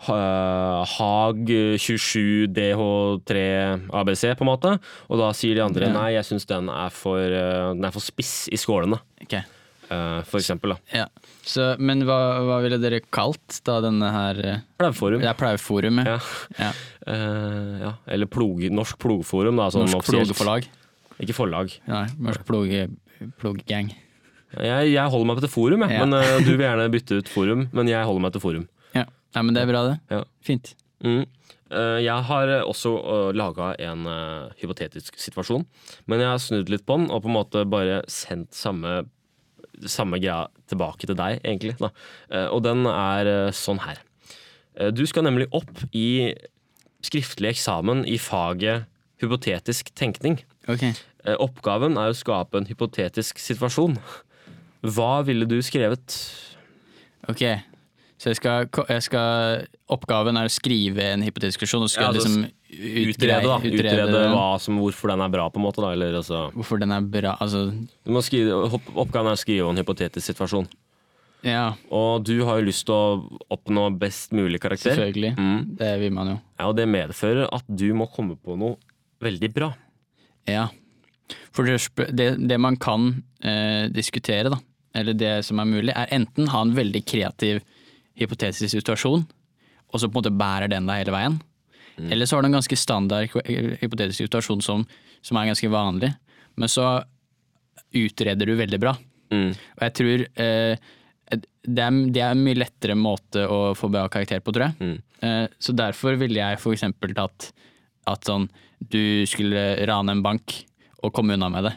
Speaker 2: Haag 27DH3ABC, på en måte. Og da sier de andre
Speaker 3: Ja.
Speaker 2: nei, jeg syns den, er for, eh, den er for spiss i skålene.
Speaker 3: Ok.
Speaker 2: Eh, for eksempel. da
Speaker 3: Ja. Så, men hva, hva ville dere kalt da denne her eh,
Speaker 2: Plauforum.
Speaker 3: Det er Pleieforum, ja.
Speaker 2: Ja.
Speaker 3: ja.
Speaker 2: Eh, ja. Eller plog, Norsk Plogforum, da. Sånn
Speaker 3: Norsk
Speaker 2: offisielt.
Speaker 3: Plogeforlag.
Speaker 2: Ikke forlag.
Speaker 3: Nei, Norsk Ploge, Ploggang.
Speaker 2: Jeg, jeg holder meg til forum, jeg.
Speaker 3: Ja.
Speaker 2: men eh, du vil gjerne bytte ut forum. Men jeg holder meg til forum.
Speaker 3: Ja. Nei, men det er bra, det.
Speaker 2: Ja.
Speaker 3: Fint.
Speaker 2: Mm. Eh, jeg har eh, også uh, laga en eh, hypotetisk situasjon, men jeg har snudd litt på den og på en måte bare sendt samme, samme greia tilbake til deg, egentlig. Da. Eh, og den er eh, sånn her. Eh, du skal nemlig opp i skriftlig eksamen i faget hypotetisk tenkning.
Speaker 3: Ok.
Speaker 2: Eh, Oppgaven er å skape en hypotetisk situasjon. Hva ville du skrevet?
Speaker 3: Ok. Så jeg skal, ko- jeg skal Oppgaven er å skrive en hypotesdiskusjon, og så
Speaker 2: Ja,
Speaker 3: skal jeg
Speaker 2: altså,
Speaker 3: liksom
Speaker 2: Utrede, da. Utrede,
Speaker 3: den.
Speaker 2: hva som, hvorfor den er bra, på en måte. Da. Eller, altså,
Speaker 3: Hvorfor den er bra Altså,
Speaker 2: du må skrive, hopp- oppgaven er å skrive en hypotetisk situasjon.
Speaker 3: ja,
Speaker 2: Og du har jo lyst til å oppnå best mulig karakter.
Speaker 3: selvfølgelig.
Speaker 2: Mm.
Speaker 3: Det vil man jo.
Speaker 2: Ja, og det medfører at du må komme på noe veldig bra.
Speaker 3: Ja. For det, sp- det, det man kan eh, diskutere, da, eller det som er mulig, er enten ha en veldig kreativ hypotetisk situasjon, og så på en måte bærer den deg hele veien.
Speaker 2: Mm.
Speaker 3: Eller så har du en ganske standard hy- hypotetisk situasjon som, som er ganske vanlig, men så utreder du veldig bra.
Speaker 2: Mm.
Speaker 3: Og jeg tror eh, det, er, det er en mye lettere måte å få bra karakter på, tror jeg.
Speaker 2: Mm.
Speaker 3: Eh, så derfor ville jeg for eksempel tatt at sånn du skulle rane en bank og komme unna med det.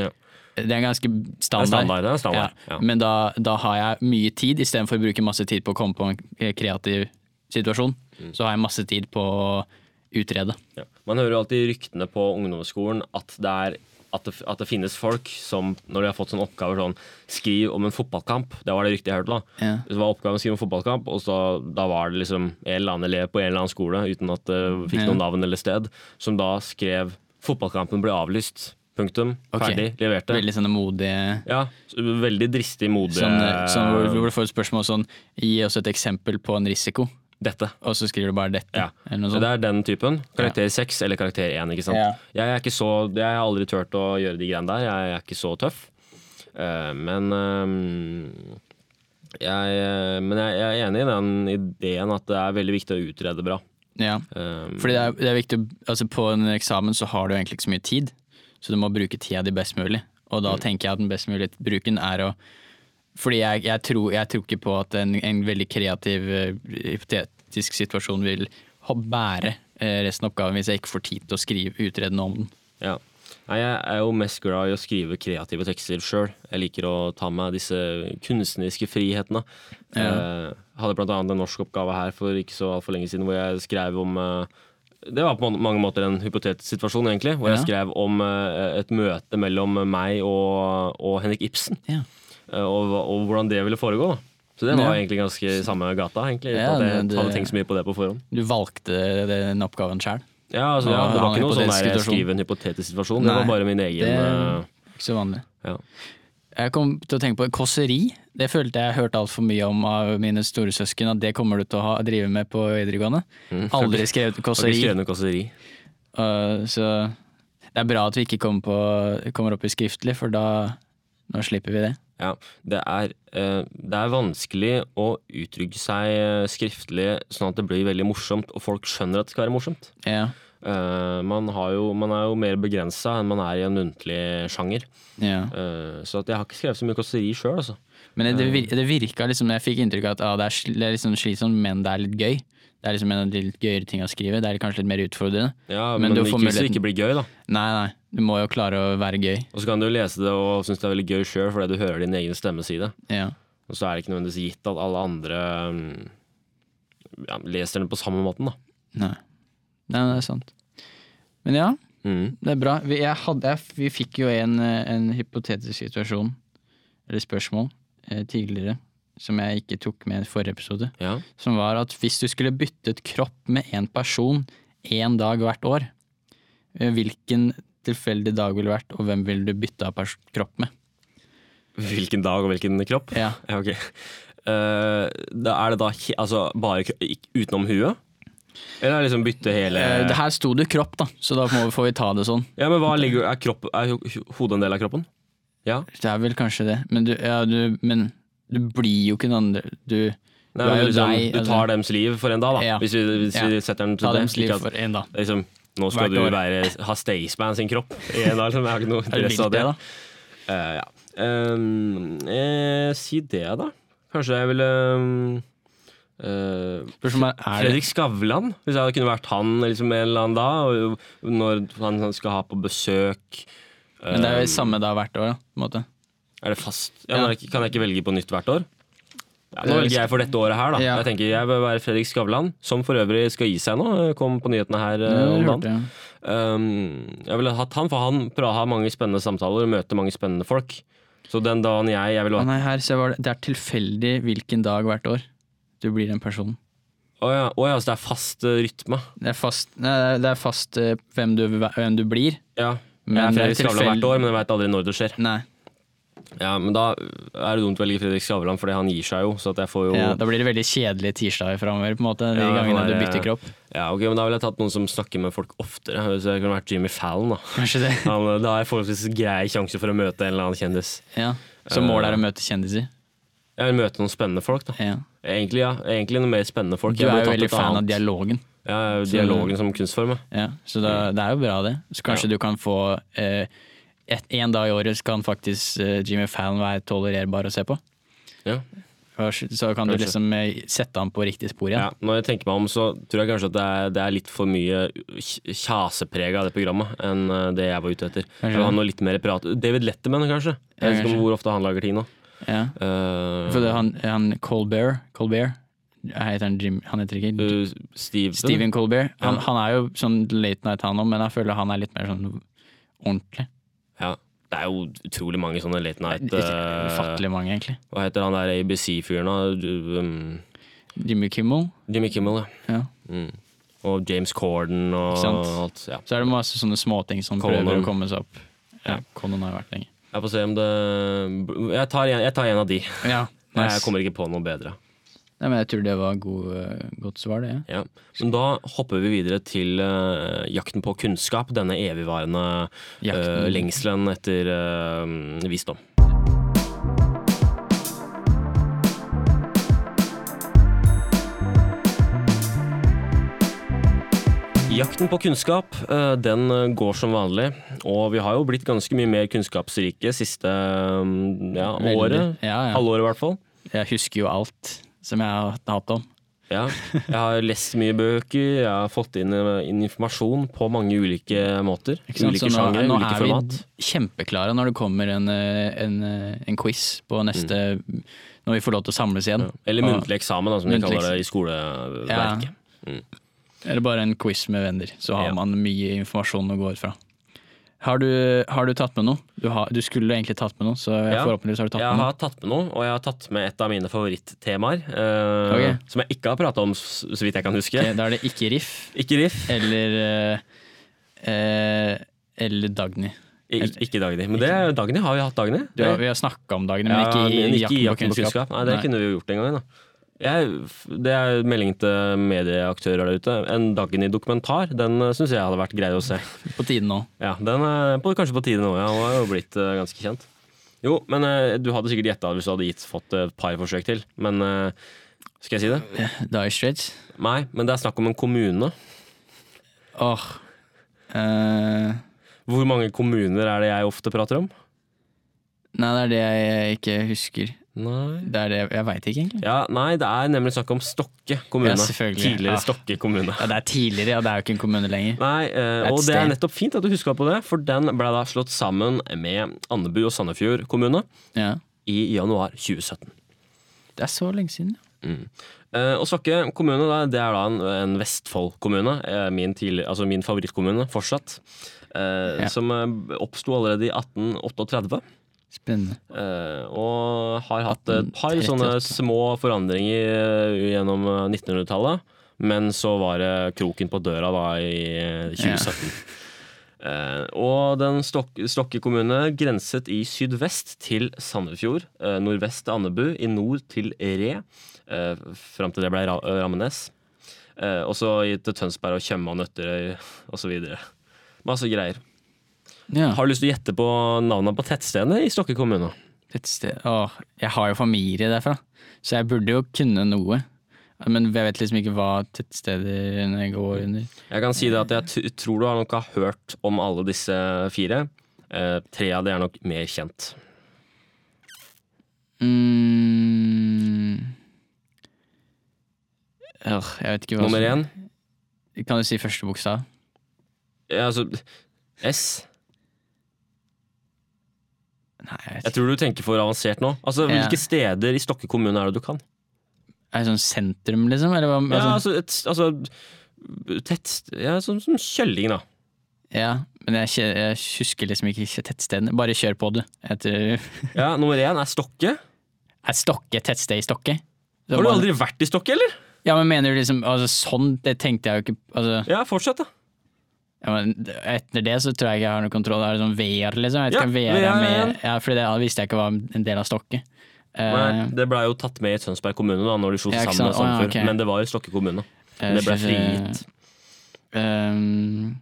Speaker 2: Ja.
Speaker 3: Det er ganske
Speaker 2: Det er
Speaker 3: standard.
Speaker 2: standard. Det er
Speaker 3: Ja.
Speaker 2: standard. Ja.
Speaker 3: Men da, da har jeg mye tid, istedenfor å bruke masse tid på å komme på en kreativ situasjon.
Speaker 2: Mm.
Speaker 3: Så har jeg masse tid på å utrede.
Speaker 2: Ja. Man hører jo alltid ryktene på ungdomsskolen at det, er, at, det, at det finnes folk som, når de har fått sånne oppgaver sånn Skriv om en fotballkamp. Det var det ryktet jeg hørte. da.
Speaker 3: Ja.
Speaker 2: Så var oppgaven å skrive om fotballkamp, og så, da var det liksom en eller annen elev på en eller annen skole uten at det fikk
Speaker 3: Ja.
Speaker 2: noen navn eller sted, som da skrev 'fotballkampen ble avlyst'. Punktum.
Speaker 3: Ok.
Speaker 2: Ferdig. Leverte.
Speaker 3: Veldig sånne modige
Speaker 2: Ja, så veldig dristig, modig
Speaker 3: sånn, sånn, hvor, hvor du får et spørsmål sånn Gi oss et eksempel på en risiko.
Speaker 2: Dette.
Speaker 3: Og så skriver du bare dette,
Speaker 2: Ja.
Speaker 3: eller noe
Speaker 2: Så
Speaker 3: sånt.
Speaker 2: det er den typen. Karakter seks eller karakter én. Ikke sant?
Speaker 3: Ja.
Speaker 2: Jeg, er ikke så, jeg har aldri turt å gjøre de greiene der. Jeg er ikke så tøff. Eh, men eh, jeg, eh, men jeg, jeg er enig i den ideen at det er veldig viktig å utrede bra.
Speaker 3: Ja.
Speaker 2: Eh,
Speaker 3: Fordi det er, det er viktig, å- altså på en eksamen så har du egentlig ikke så mye tid, så du må bruke tida di best mulig.
Speaker 2: Mm.
Speaker 3: Og da tenker jeg at den best mulige bruken er å Fordi jeg, jeg, tror, jeg tror ikke på at en, en veldig kreativ eh, hypotetisk situasjon vil ha- bære eh, resten av oppgaven hvis jeg ikke får tid til å skrive utrede noe om den.
Speaker 2: ja. Nei, jeg er jo mest glad i å skrive kreative tekster sjøl. Jeg liker å ta med disse kunstneriske frihetene. Eh, hadde blant annet en norsk oppgave her for ikke så altfor lenge siden hvor jeg skrev om eh, Det var på man- mange måter en hypotetisk situasjon, egentlig. Hvor jeg
Speaker 3: Ja.
Speaker 2: skrev om eh, et møte mellom meg og, og Henrik Ibsen.
Speaker 3: Ja.
Speaker 2: eh, og, hva- og hvordan det ville foregå. da. Så det var
Speaker 3: Ja.
Speaker 2: egentlig ganske i samme gata, egentlig. uten at
Speaker 3: Ja,
Speaker 2: jeg
Speaker 3: men det-
Speaker 2: hadde tenkt så mye på det på forhånd.
Speaker 3: Du valgte den oppgaven sjøl.
Speaker 2: Ja, altså, ja,
Speaker 3: Ja,
Speaker 2: Det var
Speaker 3: en
Speaker 2: ikke noe sånn der
Speaker 3: hypotetisk
Speaker 2: jeg
Speaker 3: situasjon.
Speaker 2: skriver en hypotetisk situasjon. Det
Speaker 3: Nei,
Speaker 2: var bare min egen
Speaker 3: det-
Speaker 2: eh,
Speaker 3: Ikke så vanlig.
Speaker 2: ja.
Speaker 3: Jeg kom til å tenke på kåseri. Det følte jeg hørte altfor mye om av mine storesøsken, at det kommer du til å ha, drive med på videregående. Aldri
Speaker 2: Mm. Har ikke
Speaker 3: skrevet kåseri.
Speaker 2: skrevet noe kåseri.
Speaker 3: øh, så det er bra at vi ikke kommer, på, kommer opp i skriftlig, for da nå slipper vi det.
Speaker 2: Ja, det er, eh, det er vanskelig å uttrykke seg eh, skriftlig sånn at det blir veldig morsomt, og folk skjønner at det skal være morsomt.
Speaker 3: Ja.
Speaker 2: Eh, man, har jo, man er jo mer begrensa enn man er i en muntlig sjanger.
Speaker 3: ja.
Speaker 2: Eh, så at jeg har ikke skrevet så mye kåseri sjøl, altså.
Speaker 3: Men det, vir- det virka liksom, jeg fikk inntrykk av at ah, det er, sl- det er liksom slitsomt, men det er litt gøy. Det er liksom en av de litt gøyere tinga å skrive. Det er kanskje litt mer utfordrende.
Speaker 2: Ja,
Speaker 3: Men
Speaker 2: men
Speaker 3: du
Speaker 2: ikke
Speaker 3: får
Speaker 2: hvis det
Speaker 3: muligheten.
Speaker 2: ikke blir gøy, da.
Speaker 3: Nei, nei, du må jo klare å være gøy.
Speaker 2: Og så kan du lese det og synes det er veldig gøy sjøl fordi du hører din egen stemme si det.
Speaker 3: Ja.
Speaker 2: Og så er det ikke nødvendigvis gitt at alle andre mm, ja, leser den på samme måten, da.
Speaker 3: Nei. nei, det er sant. Men ja.
Speaker 2: Mm.
Speaker 3: Det er bra. Vi, jeg hadde, jeg, vi fikk jo en, eh, en hypotetisk situasjon, eller spørsmål, eh, tidligere. som jeg ikke tok med i forrige episode,
Speaker 2: Ja.
Speaker 3: som var at hvis du skulle byttet kropp med én person én dag hvert år, eh, hvilken tilfeldig dag ville det vært, og hvem ville du bytta pers- kropp med?
Speaker 2: Hvilken dag og hvilken kropp?
Speaker 3: Ja,
Speaker 2: Ja, ok. Eh, da er det da he- altså bare kro- ikk- utenom huet? Eller er det liksom bytte hele
Speaker 3: Eh, det her sto det kropp, da, så da må, får vi ta det sånn.
Speaker 2: Ja, men hva ligger, er, kropp, er ho- hodet en del av kroppen? Ja?
Speaker 3: Det er vel kanskje det, men du, ja, du, men du blir jo ikke den andre Du
Speaker 2: Nei,
Speaker 3: Du er
Speaker 2: men
Speaker 3: jo
Speaker 2: liksom,
Speaker 3: deg,
Speaker 2: du
Speaker 3: altså.
Speaker 2: tar dems liv for en dag, da.
Speaker 3: Ja.
Speaker 2: Hvis vi, hvis vi
Speaker 3: Ja.
Speaker 2: setter dem til
Speaker 3: tar
Speaker 2: det.
Speaker 3: dems liv
Speaker 2: Ikke at-
Speaker 3: for én, da.
Speaker 2: liksom, nå skal
Speaker 3: Hvert
Speaker 2: du
Speaker 3: år.
Speaker 2: være, ha Staysman sin kropp i en dag. Liksom. Jeg har ikke noe
Speaker 3: *laughs* Er det
Speaker 2: interesse av
Speaker 3: vilt, det,
Speaker 2: det.
Speaker 3: da?
Speaker 2: Eh, ja. Ehm, eh, si det, da. Kanskje jeg ville ehm, eh,
Speaker 3: Spørsmålet er, er det
Speaker 2: Fredrik Skavlan, hvis jeg kunne vært han liksom, en eller annen da, og, når han skal ha på besøk
Speaker 3: Men det er
Speaker 2: Ehm,
Speaker 3: jo samme da hvert år, da, på en måte.
Speaker 2: Er det fast? Ja,
Speaker 3: Ja.
Speaker 2: men Kan jeg ikke velge på nytt hvert år? Ja, nå
Speaker 3: Eh,
Speaker 2: velger jeg for dette året her, da.
Speaker 3: ja.
Speaker 2: Jeg tenker jeg bør være Fredrik Skavlan, som for øvrig skal gi seg nå. Kom på nyhetene her eh,
Speaker 3: Ja, det
Speaker 2: om
Speaker 3: hørte
Speaker 2: dagen.
Speaker 3: jeg.
Speaker 2: Um, jeg ville hatt han, for han pra- har mange spennende samtaler og møter mange spennende folk. Så den dagen jeg, jeg ville
Speaker 3: Å
Speaker 2: vært
Speaker 3: nei, her, se, var det, det er tilfeldig hvilken dag hvert år du blir den personen.
Speaker 2: Å ja, å ja, så det er fast eh, rytme.
Speaker 3: Det er fast, nei, det er- det er fast eh, hvem, du, hvem du blir.
Speaker 2: Ja. Jeg
Speaker 3: Men
Speaker 2: er
Speaker 3: det er
Speaker 2: Fredrik Skavlan
Speaker 3: tilfeldig.
Speaker 2: hvert år, men jeg veit aldri når det skjer.
Speaker 3: Nei,
Speaker 2: Ja, Men da er det dumt å velge Fredrik Skavlan, fordi han gir seg jo. Så at jeg får jo
Speaker 3: ja, Da blir det veldig kjedelige tirsdager framover, på en måte, de
Speaker 2: Ja, det
Speaker 3: gangene
Speaker 2: kan
Speaker 3: du
Speaker 2: være-
Speaker 3: bytter kropp.
Speaker 2: Ja, ok, men Da ville jeg tatt noen som snakker med folk oftere. Så jeg kunne vært Jimmy Fallon, da.
Speaker 3: Kanskje det.
Speaker 2: Han, da har jeg forholdsvis grei sjanse for å møte en eller annen kjendis.
Speaker 3: Ja.
Speaker 2: Eh.
Speaker 3: Så målet er å møte kjendiser.
Speaker 2: Jeg vil møte noen spennende folk, da.
Speaker 3: Ja.
Speaker 2: Egentlig ja, egentlig noen mer spennende folk.
Speaker 3: Du
Speaker 2: Jeg
Speaker 3: er
Speaker 2: burde
Speaker 3: jo
Speaker 2: tatt et
Speaker 3: veldig fan av
Speaker 2: annet.
Speaker 3: dialogen,
Speaker 2: Ja, jeg er jo dialogen som kunstform. ja.
Speaker 3: ja. så
Speaker 2: Mm.
Speaker 3: da, det er jo bra, det. Så kanskje du kan få eh, et, En dag i året så kan faktisk eh, Jimmy Fallon være tolererbar å se på.
Speaker 2: Ja.
Speaker 3: Så kan du
Speaker 2: Kanskje.
Speaker 3: liksom eh, sette han på riktig spor
Speaker 2: Ja,
Speaker 3: igjen.
Speaker 2: når jeg tenker meg om, så tror jeg kanskje at det er, det er litt for mye kj- kjasepreg av det programmet enn eh, det jeg var ute etter. Jeg vil ha noe litt mer prat. David Letterman, kanskje. Jeg vet ikke om
Speaker 3: kanskje.
Speaker 2: hvor ofte han lager tid nå.
Speaker 3: Ja.
Speaker 2: Eh,
Speaker 3: For det, han, han Colbert, Colbert heter han, Jim, han heter ikke
Speaker 2: eh, Steven.
Speaker 3: Stephen Colbert. Han,
Speaker 2: Ja.
Speaker 3: han er jo sånn late night han òg, men jeg føler han er litt mer sånn ordentlig.
Speaker 2: Ja. Det er jo utrolig mange sånne late night eh,
Speaker 3: Ufattelig mange, egentlig.
Speaker 2: Hva heter han der ABC-fyren, da? Du, um,
Speaker 3: Jimmy Kimmel.
Speaker 2: Jimmy Kimmel, ja.
Speaker 3: Ja.
Speaker 2: Mm. Og James Corden og
Speaker 3: Ikke sant?
Speaker 2: alt. Ja.
Speaker 3: Så er det masse sånne småting som
Speaker 2: Conan.
Speaker 3: prøver å komme seg opp. Ja,
Speaker 2: Ja.
Speaker 3: Conan har jo vært lenge.
Speaker 2: Jeg får se om det Jeg tar en, jeg tar en av de.
Speaker 3: Ja, nice.
Speaker 2: Jeg kommer ikke på noe bedre.
Speaker 3: Nei, men jeg tror det var god, eh, godt svar, det.
Speaker 2: Ja. Men da hopper vi videre til eh, jakten på kunnskap. Denne evigvarende
Speaker 3: Ja.
Speaker 2: eh,
Speaker 3: Jakten.
Speaker 2: lengselen etter eh, visdom. Jakten på kunnskap eh, den går som vanlig, og vi har jo blitt ganske mye mer kunnskapsrike siste mm, ja,
Speaker 3: Veldig.
Speaker 2: året.
Speaker 3: Ja, ja.
Speaker 2: Halvåret, i hvert fall.
Speaker 3: Jeg husker jo alt som jeg har hatt om.
Speaker 2: Ja, jeg har lest mye bøker, jeg har fått inn, eh, inn informasjon på mange ulike måter.
Speaker 3: Ikke sant?
Speaker 2: Ulike
Speaker 3: Så nå,
Speaker 2: sjanger,
Speaker 3: nå
Speaker 2: ulike
Speaker 3: er
Speaker 2: format.
Speaker 3: vi kjempeklare når det kommer en, eh, en, eh, en quiz på neste Når vi får lov til å samles igjen.
Speaker 2: Eller
Speaker 3: Og-
Speaker 2: muntlig eksamen, da, som de
Speaker 3: Muntlig
Speaker 2: kaller det i
Speaker 3: Ja.
Speaker 2: skoleverket.
Speaker 3: Eller bare en quiz med venner, så har
Speaker 2: Ja.
Speaker 3: man mye informasjon å gå ut fra. Har du, har du tatt med noe? Du, har, du skulle egentlig tatt med noe, så
Speaker 2: Ja.
Speaker 3: forhåpentligvis har du tatt
Speaker 2: Jeg
Speaker 3: med noe.
Speaker 2: har tatt med noe, og jeg har tatt med et av mine favorittemaer. eh,
Speaker 3: Ok.
Speaker 2: Som jeg ikke har prata om, s- så vidt jeg kan huske.
Speaker 3: Ok, Da er det ikke Riff
Speaker 2: Ikke riff,
Speaker 3: eller eh, eh, eller Dagny.
Speaker 2: i- ikke Dagny. Men det er Dagny har vi hatt, Dagny.
Speaker 3: Du, har- vi har snakka om Dagny, men
Speaker 2: Ja,
Speaker 3: ikke i
Speaker 2: men
Speaker 3: jakten på kunnskap.
Speaker 2: Nei, det kunne vi jo gjort en gang. da. Jeg, det er melding til medieaktører der ute. En Dagny-dokumentar, den syns jeg hadde vært grei å se.
Speaker 3: På tiden nå.
Speaker 2: Ja, Den er på, kanskje på tide nå. Ja. Han har jo blitt eh, ganske kjent. Jo, men eh, du hadde sikkert gjetta hvis du hadde gitt, fått et par forsøk til. Men eh, skal jeg si det?
Speaker 3: Dire Straits.
Speaker 2: Nei, men det er snakk om en kommune.
Speaker 3: Åh. Eh,
Speaker 2: Hvor mange kommuner er det jeg ofte prater om?
Speaker 3: Nei, det er det jeg ikke husker.
Speaker 2: Nei
Speaker 3: Det er det, jeg veit ikke, egentlig.
Speaker 2: ja, Nei, det er nemlig snakk om Stokke kommune.
Speaker 3: Ja, selvfølgelig.
Speaker 2: Tidligere
Speaker 3: Ja.
Speaker 2: Stokke kommune.
Speaker 3: Ja, det er tidligere, ja. Det er jo ikke en kommune lenger.
Speaker 2: Nei, eh,
Speaker 3: Et
Speaker 2: og det er
Speaker 3: sted.
Speaker 2: nettopp fint at du huska på det, for den ble da slått sammen med Andebu og Sandefjord kommune
Speaker 3: Ja.
Speaker 2: i januar 2017.
Speaker 3: Det er så lenge siden, ja.
Speaker 2: Eh, og Stokke kommune da, det er da en, en Vestfold-kommune, eh, min, tidlig- altså min favorittkommune fortsatt, eh,
Speaker 3: Ja.
Speaker 2: som eh, oppsto allerede i 1838.
Speaker 3: Spennende.
Speaker 2: Eh, og har hatt et par
Speaker 3: 1838.
Speaker 2: sånne små forandringer eh, gjennom eh, 1900-tallet. Men så var det kroken på døra da i eh, 2017. Eh, og den Stok Stokke kommune grenset i sydvest til Sandefjord, eh, nordvest til Andebu, i nord til Re, eh, fram til det ble Ra Rammenes. Eh, og så i- til Tønsberg og Tjøme og Nøtterøy osv. Masse greier.
Speaker 3: Ja.
Speaker 2: Har du lyst til å gjette på navnene på tettstedene i Stokke kommune?
Speaker 3: Et sted Åh, jeg har jo familie derfra, så jeg burde jo kunne noe. Men jeg vet liksom ikke hva tettstedene går under.
Speaker 2: Jeg kan si det at jeg t tror du har nok har hørt om alle disse fire. Eh, tre av de er nok mer kjent.
Speaker 3: Mm. Åh, jeg vet ikke hva
Speaker 2: Nummer
Speaker 3: som-
Speaker 2: én
Speaker 3: Kan du si første bokstav?
Speaker 2: eh, altså, S.
Speaker 3: Nei, jeg vet
Speaker 2: Jeg
Speaker 3: ikke.
Speaker 2: tror du tenker for avansert nå. Altså,
Speaker 3: Ja.
Speaker 2: Hvilke steder i Stokke kommune er det du kan?
Speaker 3: Er det sånn sentrum, liksom? Eller hva?
Speaker 2: Ja,
Speaker 3: altså,
Speaker 2: altså, et, altså tett, ja, Sånn som Kjølling, da.
Speaker 3: ja, men jeg, kje- jeg husker liksom ikke tettstedene. Bare kjør på, du. Jeg tror-
Speaker 2: Ja, Nummer én er Stokke.
Speaker 3: Er Stokke et tettsted i Stokke? Så
Speaker 2: Har du
Speaker 3: bare-
Speaker 2: aldri vært i Stokke, eller?
Speaker 3: Ja, men mener du liksom altså, Sånn, det tenkte jeg jo ikke altså,
Speaker 2: Ja, fortsett, da.
Speaker 3: Ja, men etter det så tror jeg ikke jeg har noe kontroll. Er det sånn VR, liksom? Jeg vet
Speaker 2: Ja,
Speaker 3: ikke hva VR
Speaker 2: VR,
Speaker 3: er
Speaker 2: ja.
Speaker 3: med. Ja, fordi det visste jeg ikke var en del av Stokke. Eh,
Speaker 2: Nei, det blei jo tatt med i Tønsberg kommune da Når de slo
Speaker 3: Ja, ikke
Speaker 2: sammen.
Speaker 3: sant?
Speaker 2: og sånn
Speaker 3: Å, ja,
Speaker 2: før.
Speaker 3: ok.
Speaker 2: Men det var i Stokke kommune.
Speaker 3: jeg
Speaker 2: Det ble
Speaker 3: synes,
Speaker 2: frigitt.
Speaker 3: eh, ehm,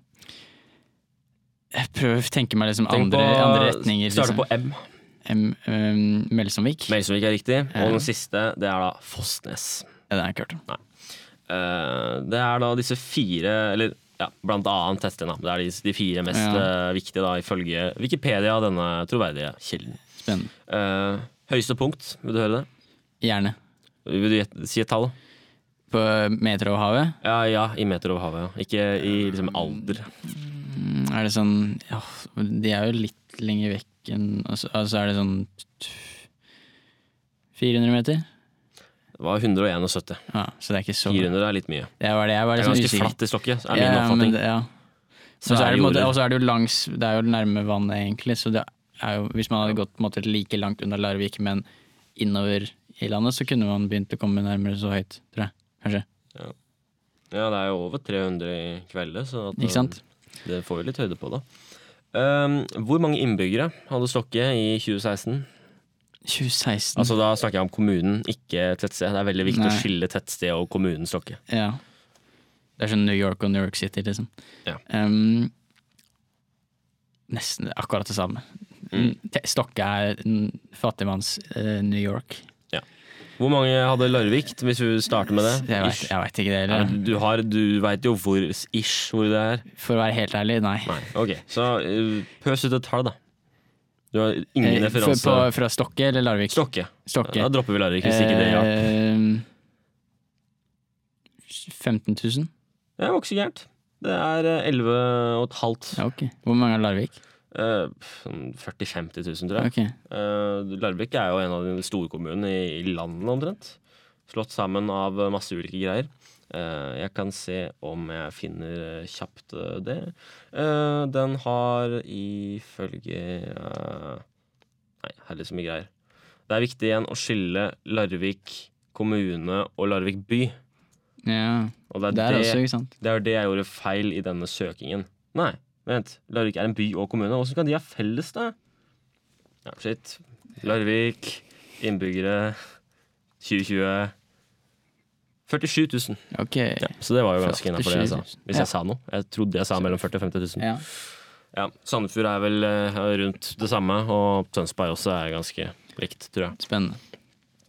Speaker 3: jeg prøver å tenke meg liksom
Speaker 2: Tenk
Speaker 3: andre,
Speaker 2: på-
Speaker 3: andre retninger.
Speaker 2: Starte
Speaker 3: Liksom.
Speaker 2: på M.
Speaker 3: Em, em, Melsomvik?
Speaker 2: Melsomvik er riktig.
Speaker 3: Ja.
Speaker 2: Og den siste, det er da Fosnes.
Speaker 3: Ja, det har jeg ikke hørt om.
Speaker 2: Eh, Det er da disse fire, eller ja, blant annet testen, da. Det er de, de fire mest
Speaker 3: Ja.
Speaker 2: eh, viktige, da, ifølge Wikipedia, denne troverdige kilden.
Speaker 3: Spennende.
Speaker 2: Eh, høyeste punkt, vil du høre det?
Speaker 3: Gjerne.
Speaker 2: Vil du gjette- si et tall?
Speaker 3: På meter over havet?
Speaker 2: Ja, ja, i meter over havet. ja. Ikke i liksom alder.
Speaker 3: Mm, Er det sånn ja, De er jo litt lenger vekk enn altså, altså er det sånn t- 400 meter?
Speaker 2: Det var 171.
Speaker 3: Ja, så det er ikke så
Speaker 2: 400 er litt mye.
Speaker 3: Det var det jeg var
Speaker 2: Det er
Speaker 3: liksom
Speaker 2: ganske
Speaker 3: usikker.
Speaker 2: flatt i stokket, er min
Speaker 3: Ja, ja, Eh, men
Speaker 2: oppfatning.
Speaker 3: det- ja.
Speaker 2: Så
Speaker 3: Men så
Speaker 2: er
Speaker 3: er det, på en måte-
Speaker 2: jorder.
Speaker 3: og så er det jo langs Det er jo nærme vannet, egentlig. Så det er jo, hvis man hadde gått på en måte, like langt unna Larvik, men innover i landet, så kunne man begynt å komme nærmere så høyt, tror jeg. Kanskje.
Speaker 2: Ja, det er jo over 300 i kveldet, så at,
Speaker 3: Ikke sant?
Speaker 2: det får jo litt høyde på, da. Um, hvor mange innbyggere hadde Stokke i 2016?
Speaker 3: 2016.
Speaker 2: Altså Da snakker jeg om kommunen, ikke tettsted. Det er veldig viktig å
Speaker 3: Nei.
Speaker 2: skille tettsted og kommunen Stokke.
Speaker 3: Ja. Det er sånn New York og New York City, liksom.
Speaker 2: Ja.
Speaker 3: Ehm, nesten akkurat det samme.
Speaker 2: Mm.
Speaker 3: Te- Stokke er mm, fattigmanns eh, New York.
Speaker 2: Hvor mange hadde Larvik, hvis vi starter med det?
Speaker 3: Jeg vet,
Speaker 2: Ish.
Speaker 3: jeg vet ikke det
Speaker 2: Ja,
Speaker 3: heller.
Speaker 2: du har- du veit jo hvor ish hvor det er.
Speaker 3: For å være helt ærlig, nei.
Speaker 2: Nei, ok. Så uh, pøs ut et tall, da. Du har ingen
Speaker 3: Eh, for-
Speaker 2: referanse.
Speaker 3: på- Fra Stokke eller Larvik?
Speaker 2: Stokke.
Speaker 3: Stokke.
Speaker 2: Da dropper vi Larvik, hvis ikke det hjalp.
Speaker 3: Ehm, 15 000?
Speaker 2: Det var ikke så gærent. Det er eh, 11 og et halvt.
Speaker 3: Ja, ok. Hvor mange er Larvik?
Speaker 2: Eh, sånn 40 000-50 000, tror jeg.
Speaker 3: Ok.
Speaker 2: Eh, Larvik er jo en av de storkommunene i, i landet omtrent. Slått sammen av eh, masse ulike greier. Eh, jeg kan se om jeg finner eh, kjapt eh, det. Eh, den har ifølge eh, Nei, her er det så mye greier. Det er viktig igjen å skille Larvik kommune og Larvik by.
Speaker 3: Ja.
Speaker 2: Og det er
Speaker 3: Det
Speaker 2: det,
Speaker 3: er altså også, ikke sant?
Speaker 2: det, er det jeg gjorde feil i denne søkingen. Nei, vent. Larvik er en by og kommune. Hvordan kan de ha felles, da? Ja, shit. Larvik, innbyggere 2020 47 000.
Speaker 3: Ok.
Speaker 2: Ja, så det var jo ganske innafor det jeg sa.
Speaker 3: 47 000.
Speaker 2: Hvis
Speaker 3: Ja.
Speaker 2: jeg sa noe. Jeg trodde jeg sa mellom 40 000 og 50 000.
Speaker 3: Ja.
Speaker 2: Ja, Sandefjord er vel eh, rundt det samme, og Tønsberg også er ganske likt, tror jeg.
Speaker 3: Spennende.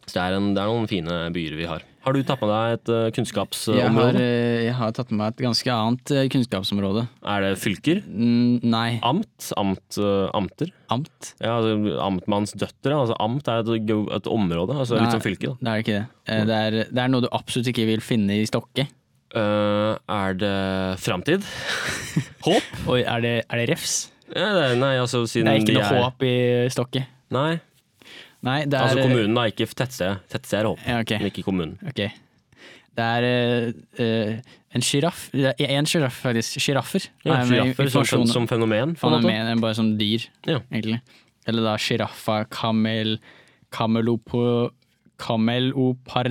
Speaker 2: Så det er, en, det er noen fine byer vi har. Har du tatt med deg et eh,
Speaker 3: Jeg har,
Speaker 2: kunnskapsområde?
Speaker 3: eh, jeg har tatt med meg et ganske annet eh, kunnskapsområde.
Speaker 2: Er det fylker?
Speaker 3: Mm, Nei,
Speaker 2: Amt? amt eh, amter?
Speaker 3: amt.
Speaker 2: Ja, altså, amtmanns døtre. Altså, amt er et, geo- et område, altså, litt
Speaker 3: Nei.
Speaker 2: som fylke. Da.
Speaker 3: Det er ikke det. Eh, Det er, det er noe du absolutt ikke vil finne i Stokke.
Speaker 2: Eh, er det framtid? *laughs* Håp?
Speaker 3: Oi, er det, er det refs?
Speaker 2: Ja, det, er- nei, altså
Speaker 3: Det
Speaker 2: siden
Speaker 3: er
Speaker 2: de
Speaker 3: ikke noe håp i Stokke.
Speaker 2: Nei,
Speaker 3: Nei, det er
Speaker 2: altså kommunen, da, ikke tettstedet. Tettstedet er håp,
Speaker 3: Ja, ok.
Speaker 2: men ikke kommunen.
Speaker 3: Ok. Det er eh, eh, en sjiraff Én sjiraff, faktisk. Sjiraffer.
Speaker 2: Ja,
Speaker 3: Er med i
Speaker 2: Sjiraffer sånn som,
Speaker 3: informasjon-
Speaker 2: som fenomen. på en måte.
Speaker 3: Fenomen, bare som sånn dyr,
Speaker 2: Ja.
Speaker 3: egentlig. Eller da sjiraffa, kamel, kamelopo,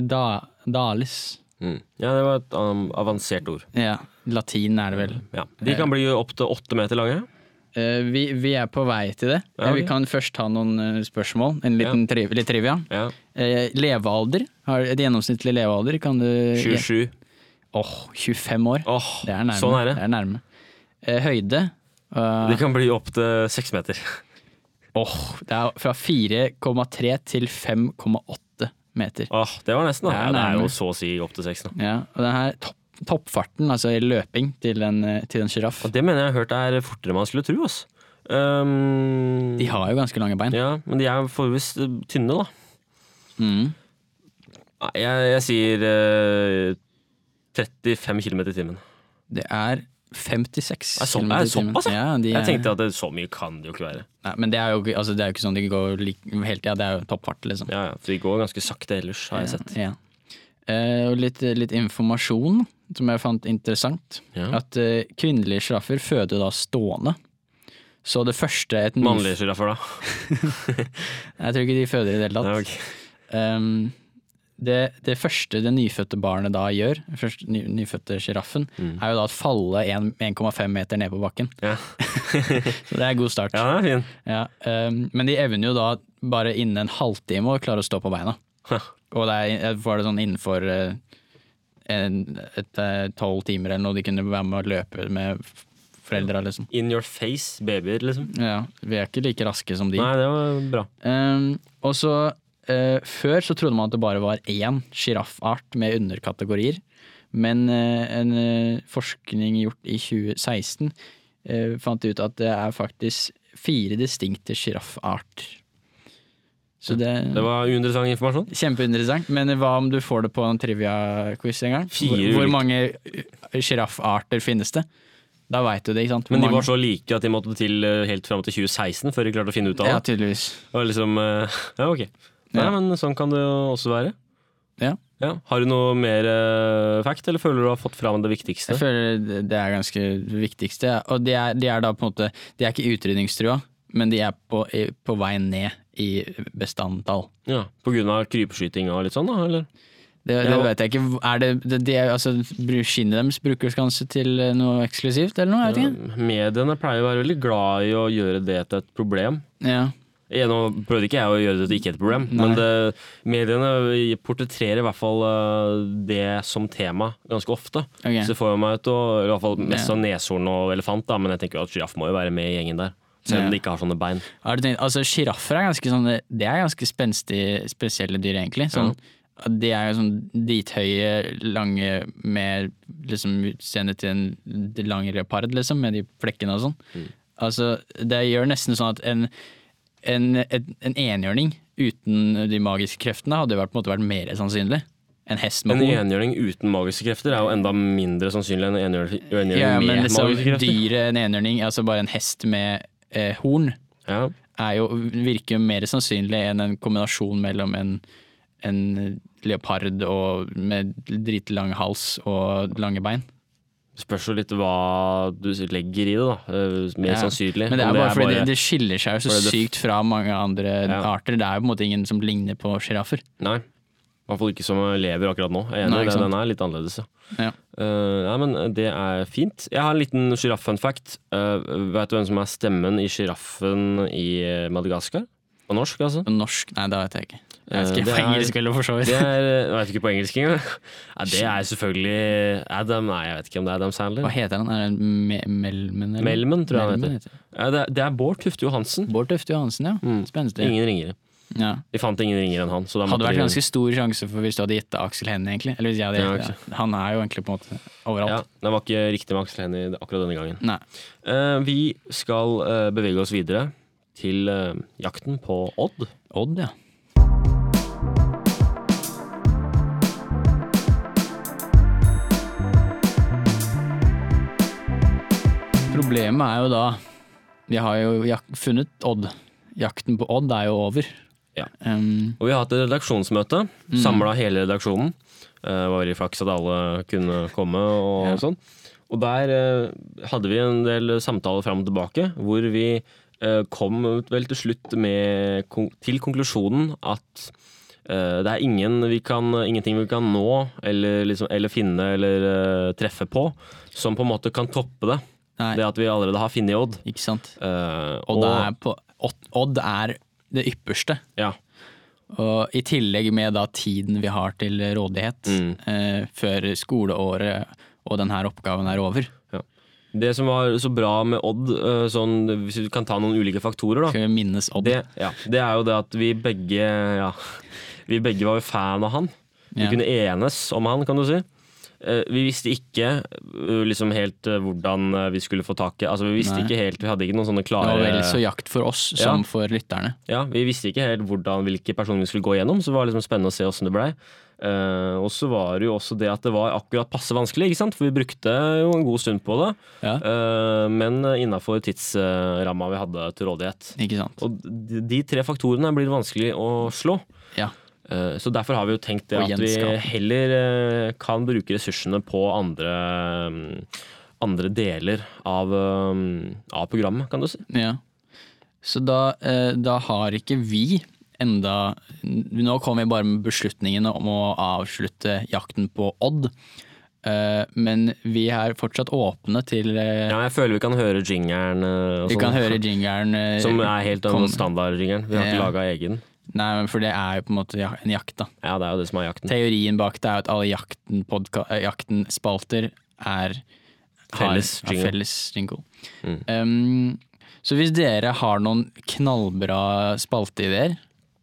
Speaker 3: kamelopardalis.
Speaker 2: Mm. Ja, det var et um, avansert ord.
Speaker 3: Ja, latin er det vel.
Speaker 2: Ja. De kan bli opptil åtte meter lange.
Speaker 3: Eh, vi, vi er på vei til det.
Speaker 2: Ja, ok.
Speaker 3: Vi kan først ta noen eh, spørsmål. En liten tri litt trivia.
Speaker 2: Ja.
Speaker 3: Eh, levealder. Har et gjennomsnittlig levealder kan du
Speaker 2: 27.
Speaker 3: Åh, 25 år.
Speaker 2: Åh,
Speaker 3: Det er nærme.
Speaker 2: så
Speaker 3: Det
Speaker 2: nære.
Speaker 3: er nærme. Eh, høyde. eh,
Speaker 2: De kan bli opptil seks meter.
Speaker 3: Åh, det er fra 4,3 til 5,8 meter.
Speaker 2: Åh, det var nesten, da.
Speaker 3: Det er
Speaker 2: Ja, det er
Speaker 3: nærme.
Speaker 2: jo så å si opptil seks. da.
Speaker 3: Ja, og den her topp, toppfarten, altså i løping til en, eh, til en sjiraff
Speaker 2: Og det mener jeg har hørt er fortere enn man skulle tro. Ass. Um,
Speaker 3: De har jo ganske lange bein.
Speaker 2: Ja, men de er forholdsvis eh, tynne, da.
Speaker 3: Mm.
Speaker 2: Nei, Jeg, jeg sier eh, 35 km i timen.
Speaker 3: Det er 56
Speaker 2: Er så- sånn- er
Speaker 3: kilometer
Speaker 2: det
Speaker 3: i timen.
Speaker 2: såpass, ja?
Speaker 3: Ja, de
Speaker 2: Jeg
Speaker 3: er,
Speaker 2: tenkte at det, så mye kan det jo ikke være.
Speaker 3: nei, men det er, jo, ikke- altså, det er jo ikke sånn de går lik- helt Ja, det er jo toppfart, liksom.
Speaker 2: Ja, ja, for De går ganske sakte ellers, har jeg sett.
Speaker 3: Ja. Eh, og litt, litt informasjon som jeg fant interessant.
Speaker 2: Ja.
Speaker 3: At eh, kvinnelige sjiraffer føder da stående. Så det første et nyf-
Speaker 2: Mannlige sjiraffer, da.
Speaker 3: Jeg tror ikke de føder i det hele tatt.
Speaker 2: Ja, ok.
Speaker 3: Ehm, det, det første det nyfødte barnet da gjør, først, ny, nyfødte sjiraffen,
Speaker 2: Mm.
Speaker 3: er jo da å falle en- 1,5 meter ned på bakken.
Speaker 2: ja.
Speaker 3: Så det er god start.
Speaker 2: ja,
Speaker 3: Ja.
Speaker 2: den er fin. *laughs*
Speaker 3: ehm, men de evner jo da bare innen en halvtime å klare å stå på beina.
Speaker 2: Ja.
Speaker 3: Og det er, var det sånn innenfor eh, en- et, eh, tolv timer eller noe de kunne være med å løpe med f- foreldra, liksom.
Speaker 2: In your face, babyer, liksom.
Speaker 3: Ja, vi er ikke like raske som de.
Speaker 2: Nei, det var bra.
Speaker 3: Ehm, og så eh, Før så trodde man at det bare var én sjiraffart med underkategorier. Men eh, en eh, forskning gjort i 2016 eh, fant ut at det er faktisk fire distinkte sjiraffarter. Så det,
Speaker 2: Det var uinteressant informasjon.
Speaker 3: Kjempeinteressant, men hva om du får det på en trivia-quiz en gang?
Speaker 2: Fire
Speaker 3: Hvor,
Speaker 2: ulike.
Speaker 3: hvor mange eh, sjiraffarter finnes det? Da veit du det, ikke sant? Hvor
Speaker 2: Men de
Speaker 3: mange-
Speaker 2: var så like at de måtte til eh, helt fram til 2016 før de klarte å finne ut av
Speaker 3: Ja,
Speaker 2: det.
Speaker 3: tydeligvis.
Speaker 2: Og liksom, eh, ja, ok. Nei,
Speaker 3: Ja.
Speaker 2: men sånn kan det jo også være.
Speaker 3: Ja.
Speaker 2: Har du noe mer eh, fact, eller føler du har fått fram det viktigste?
Speaker 3: Jeg føler det- det er ganske det viktigste. ja. Og de er, de er da på en måte De er ikke utrydningstrua, men de er på, i- på vei ned i bestandtall.
Speaker 2: Ja, på grunn av krypeskyting og litt sånn, da? Eller?
Speaker 3: Det,
Speaker 2: Ja.
Speaker 3: det vet jeg ikke. Er det, det, det er, altså, bru- Skinnet deres brukes kanskje til eh, noe eksklusivt, eller noe? Jeg vet ikke.
Speaker 2: Ja, Mediene pleier å være veldig glad i å gjøre det til et problem.
Speaker 3: Ja.
Speaker 2: Jeg, nå prøvde ikke jeg å gjøre det til ikke et problem, men det, mediene eh, portretterer i hvert fall eh, det som tema ganske ofte.
Speaker 3: Ok.
Speaker 2: Så det får jo meg til å eller i hvert fall mest av neshorn og elefant, da, men jeg tenker jo at sjiraff må jo være med i gjengen der. Selv om
Speaker 3: Ja.
Speaker 2: de ikke har sånne bein.
Speaker 3: Har du tenkt, altså Sjiraffer er ganske sånne, det er ganske spenstige, spesielle dyr, egentlig. Sånn, De er jo sånn drithøye, lange, med liksom utseendet til en lang leopard, liksom, med de flekkene og sånn.
Speaker 2: Mm.
Speaker 3: Altså, det gjør nesten sånn at en, en, en, en enhjørning uten de magiske kreftene hadde jo vært, på en måte vært mer sannsynlig. En hest
Speaker 2: En
Speaker 3: med horn.
Speaker 2: enhjørning uten magiske krefter er jo enda mindre sannsynlig enn en enhjørning enhjørning
Speaker 3: Ja,
Speaker 2: med
Speaker 3: men liksom,
Speaker 2: magiske krefter.
Speaker 3: dyret en enhjørning, altså bare en hest med eh, horn,
Speaker 2: Ja.
Speaker 3: er jo, virker jo mer sannsynlig enn en kombinasjon mellom en, en leopard og med dritlang hals og lange bein.
Speaker 2: Spørs jo litt hva du legger i det, da. Eh, Mer
Speaker 3: Ja.
Speaker 2: sannsynlig.
Speaker 3: Men det
Speaker 2: Om
Speaker 3: er bare fordi
Speaker 2: bare-
Speaker 3: det, det skiller seg jo så
Speaker 2: fordi det-
Speaker 3: sykt fra mange andre
Speaker 2: Ja.
Speaker 3: arter. Det er jo på en måte ingen som ligner på sjiraffer.
Speaker 2: Nei. I hvert fall ikke som lever akkurat nå. Jeg er
Speaker 3: Nei,
Speaker 2: enig, i
Speaker 3: ikke
Speaker 2: det.
Speaker 3: sant.
Speaker 2: den er litt annerledes, ja.
Speaker 3: Ja.
Speaker 2: Eh, nei, men det er fint. Jeg har en liten sjiraff-funfact. Uh, vet du hvem som er stemmen i sjiraffen i Madagaskar? På norsk, altså?
Speaker 3: På norsk Nei, det vet jeg ikke. Jeg vet
Speaker 2: Eh,
Speaker 3: ikke
Speaker 2: det
Speaker 3: på
Speaker 2: er-
Speaker 3: engelsk eller for så vidt.
Speaker 2: Det er, jeg vet ikke på engelsk engang. *laughs* Nei, det er selvfølgelig Adam Nei, jeg vet ikke om det er Adam
Speaker 3: Hva
Speaker 2: Sandler.
Speaker 3: heter han? Er det Me Melmen? eller?
Speaker 2: Melman, tror jeg han
Speaker 3: Melman
Speaker 2: heter. Ja, det, er, det er Bård Tufte Johansen.
Speaker 3: Bård Tøfte Johansen, ja.
Speaker 2: Mm.
Speaker 3: Spenstig.
Speaker 2: Ingen ringere.
Speaker 3: Ja.
Speaker 2: Vi fant ingen ringere enn han. Så da
Speaker 3: Hadde
Speaker 2: måtte
Speaker 3: vært
Speaker 2: vi-
Speaker 3: ganske stor sjanse for hvis du hadde gitt Aksel Hennie, egentlig. Eller hvis jeg hadde
Speaker 2: Ja,
Speaker 3: gitt det. Han er jo egentlig på en måte
Speaker 2: ja,
Speaker 3: overalt.
Speaker 2: Den var ikke riktig med Aksel Hennie akkurat denne gangen.
Speaker 3: Nei.
Speaker 2: Eh, vi skal eh, bevege oss videre til eh, jakten på Odd.
Speaker 3: Odd, ja. Problemet er jo da Vi har jo jak funnet Odd. Jakten på Odd er jo over.
Speaker 2: Ja.
Speaker 3: Um,
Speaker 2: Og vi har hatt et redaksjonsmøte.
Speaker 3: Mm.
Speaker 2: Samlet Samla hele redaksjonen. Eh, Det var i flaks at alle kunne komme og
Speaker 3: Ja.
Speaker 2: sånn. Og der eh, hadde vi en del samtaler fram og tilbake, hvor vi eh, kom vel til slutt med, kon- til konklusjonen at eh, det er ingen vi kan, ingenting vi kan nå eller, liksom, eller finne eller eh, treffe på som på en måte kan toppe det.
Speaker 3: Nei.
Speaker 2: Det at vi allerede har funnet Odd.
Speaker 3: Ikke sant?
Speaker 2: Eh,
Speaker 3: Odd er, på, Odd- Odd er det ypperste.
Speaker 2: ja,
Speaker 3: Og I tillegg med da tiden vi har til rådighet
Speaker 2: Mm.
Speaker 3: eh, før skoleåret og denne oppgaven er over.
Speaker 2: ja. Det som var så bra med Odd, eh, sånn, hvis vi kan ta noen ulike faktorer, da,
Speaker 3: Skal vi minnes Odd?
Speaker 2: det, ja, det er jo det at vi begge ja, *laughs* Vi begge var jo fan av han. Vi
Speaker 3: Ja.
Speaker 2: kunne enes om han, kan du si. Eh, Vi visste ikke eh, liksom helt eh, hvordan eh, vi skulle få tak i Altså Vi visste
Speaker 3: Nei.
Speaker 2: ikke helt, vi hadde ikke noen sånne
Speaker 3: Det var
Speaker 2: klare
Speaker 3: vel så jakt for oss
Speaker 2: eh, Ja.
Speaker 3: som for lytterne.
Speaker 2: ja, Vi visste ikke helt hvordan, hvilke personer vi skulle gå gjennom, så det var liksom spennende å se åssen det blei. Eh, og så var det jo også det at det var akkurat passe vanskelig, ikke sant? for vi brukte jo en god stund på det.
Speaker 3: Ja.
Speaker 2: Eh, men innafor tidsramma vi hadde til rådighet.
Speaker 3: Ikke sant?
Speaker 2: Og de, de tre faktorene blir det vanskelig å slå.
Speaker 3: Ja.
Speaker 2: Eh, Så derfor har vi jo tenkt det
Speaker 3: Og
Speaker 2: at vi
Speaker 3: gjenskape.
Speaker 2: heller eh, kan bruke ressursene på andre, mm, andre deler av, mm, av programmet, kan du si.
Speaker 3: Ja. Så da, eh, da har ikke vi enda Nå kommer vi bare med beslutningen om å avslutte jakten på Odd. Eh, men vi er fortsatt åpne til eh,
Speaker 2: Ja, jeg føler vi kan høre jingeren. eh, og
Speaker 3: Vi
Speaker 2: sånn,
Speaker 3: kan høre jingeren. eh,
Speaker 2: Som er helt den
Speaker 3: kom-
Speaker 2: standardjingeren. Vi har ikke
Speaker 3: Ja.
Speaker 2: laga egen.
Speaker 3: Nei, men for det er jo på en måte ja- en jakt, da.
Speaker 2: Ja, det er jo det som er jakten.
Speaker 3: Teorien bak det er jo at alle jakten, podka- eh, jakten-spalter er har-
Speaker 2: Felles
Speaker 3: har
Speaker 2: jingle. Mm.
Speaker 3: felles jingle. Um, så hvis dere har noen knallbra spalteideer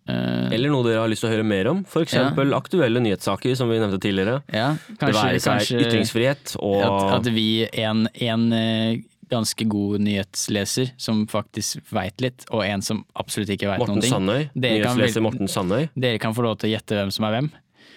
Speaker 3: eh,
Speaker 2: Eller noe dere har lyst til å høre mer om. F.eks.
Speaker 3: Ja.
Speaker 2: aktuelle nyhetssaker, som vi nevnte tidligere.
Speaker 3: ja,
Speaker 2: det
Speaker 3: kanskje,
Speaker 2: være seg
Speaker 3: kanskje
Speaker 2: ytringsfrihet og
Speaker 3: at, at vi, en, en eh, ganske god nyhetsleser som faktisk veit litt, og en som absolutt ikke veit noen
Speaker 2: Morten
Speaker 3: ting,
Speaker 2: Sandøy.
Speaker 3: Det kan vel-
Speaker 2: Nyhetsleser Morten Sandøy.
Speaker 3: dere kan få lov til å gjette hvem som er hvem.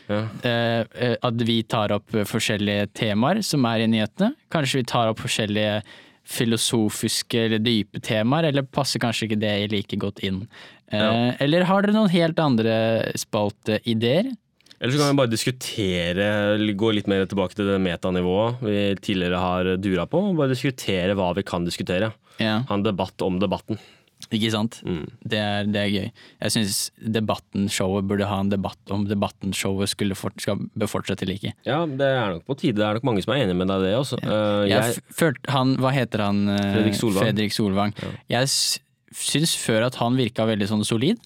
Speaker 2: Ja.
Speaker 3: eh, eh, at vi tar opp eh, forskjellige temaer som er i nyhetene. Kanskje vi tar opp forskjellige filosofiske eller dype temaer, eller passer kanskje ikke det like godt inn. Eh,
Speaker 2: Ja.
Speaker 3: Eller har dere noen helt andre spalteideer?
Speaker 2: Eller så kan vi bare diskutere, eller gå litt mer tilbake til det metanivået vi tidligere har dura på, og bare diskutere hva vi kan diskutere.
Speaker 3: Ja,
Speaker 2: Ha en debatt om debatten. Mm.
Speaker 3: ikke sant? Det, er, det er gøy. Jeg syns Debatten-showet burde ha en debatt om Debatten-showet skulle fort, skal bør fortsette like.
Speaker 2: Ja, det er nok på tide. Det er nok mange som er enig med deg i det også. Eh,
Speaker 3: Jeg,
Speaker 2: jeg,
Speaker 3: f- følte han, hva heter han? eh,
Speaker 2: Fredrik Solvang.
Speaker 3: Fredrik Solvang. Jeg s- syns før at han virka veldig sånn solid.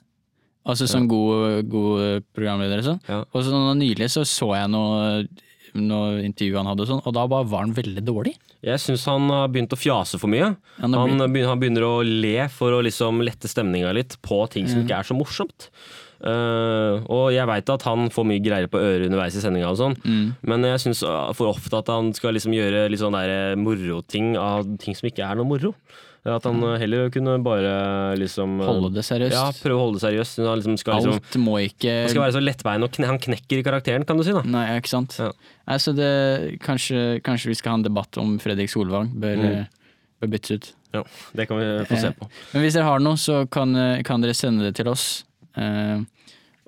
Speaker 3: Altså som god, god programleder og sånn.
Speaker 2: Ja.
Speaker 3: Og så nå nylig så, så jeg noe, noe intervju han hadde og sånn, og da bare var han veldig dårlig.
Speaker 2: jeg syns han har begynt å fjase for mye.
Speaker 3: Han
Speaker 2: Han
Speaker 3: har
Speaker 2: begynner, han begynner å le for å liksom lette stemninga litt på ting som
Speaker 3: Mm.
Speaker 2: ikke er så morsomt. Eh, og jeg veit at han får mye greier på øret underveis i sendinga, og sånn,
Speaker 3: Mm.
Speaker 2: men jeg syns uh, for ofte at han skal liksom gjøre litt sånn der moroting av ting som ikke er noe moro. At han eh, heller kunne bare liksom
Speaker 3: Mm. Holde det seriøst.
Speaker 2: Ja, prøve å holde det seriøst. Han liksom skal liksom
Speaker 3: Alt må ikke
Speaker 2: han skal være så lettbein og kne, han knekker i karakteren, kan du si. da
Speaker 3: Nei, ikke sant.
Speaker 2: Ja.
Speaker 3: Nei, så det, kanskje, kanskje vi skal ha en debatt om Fredrik Solvang bør,
Speaker 2: Mm.
Speaker 3: eh, bør byttes ut.
Speaker 2: ja, Det kan vi få se
Speaker 3: Eh,
Speaker 2: på.
Speaker 3: Men hvis dere har noe, så kan, eh, kan dere sende det til oss. Eh,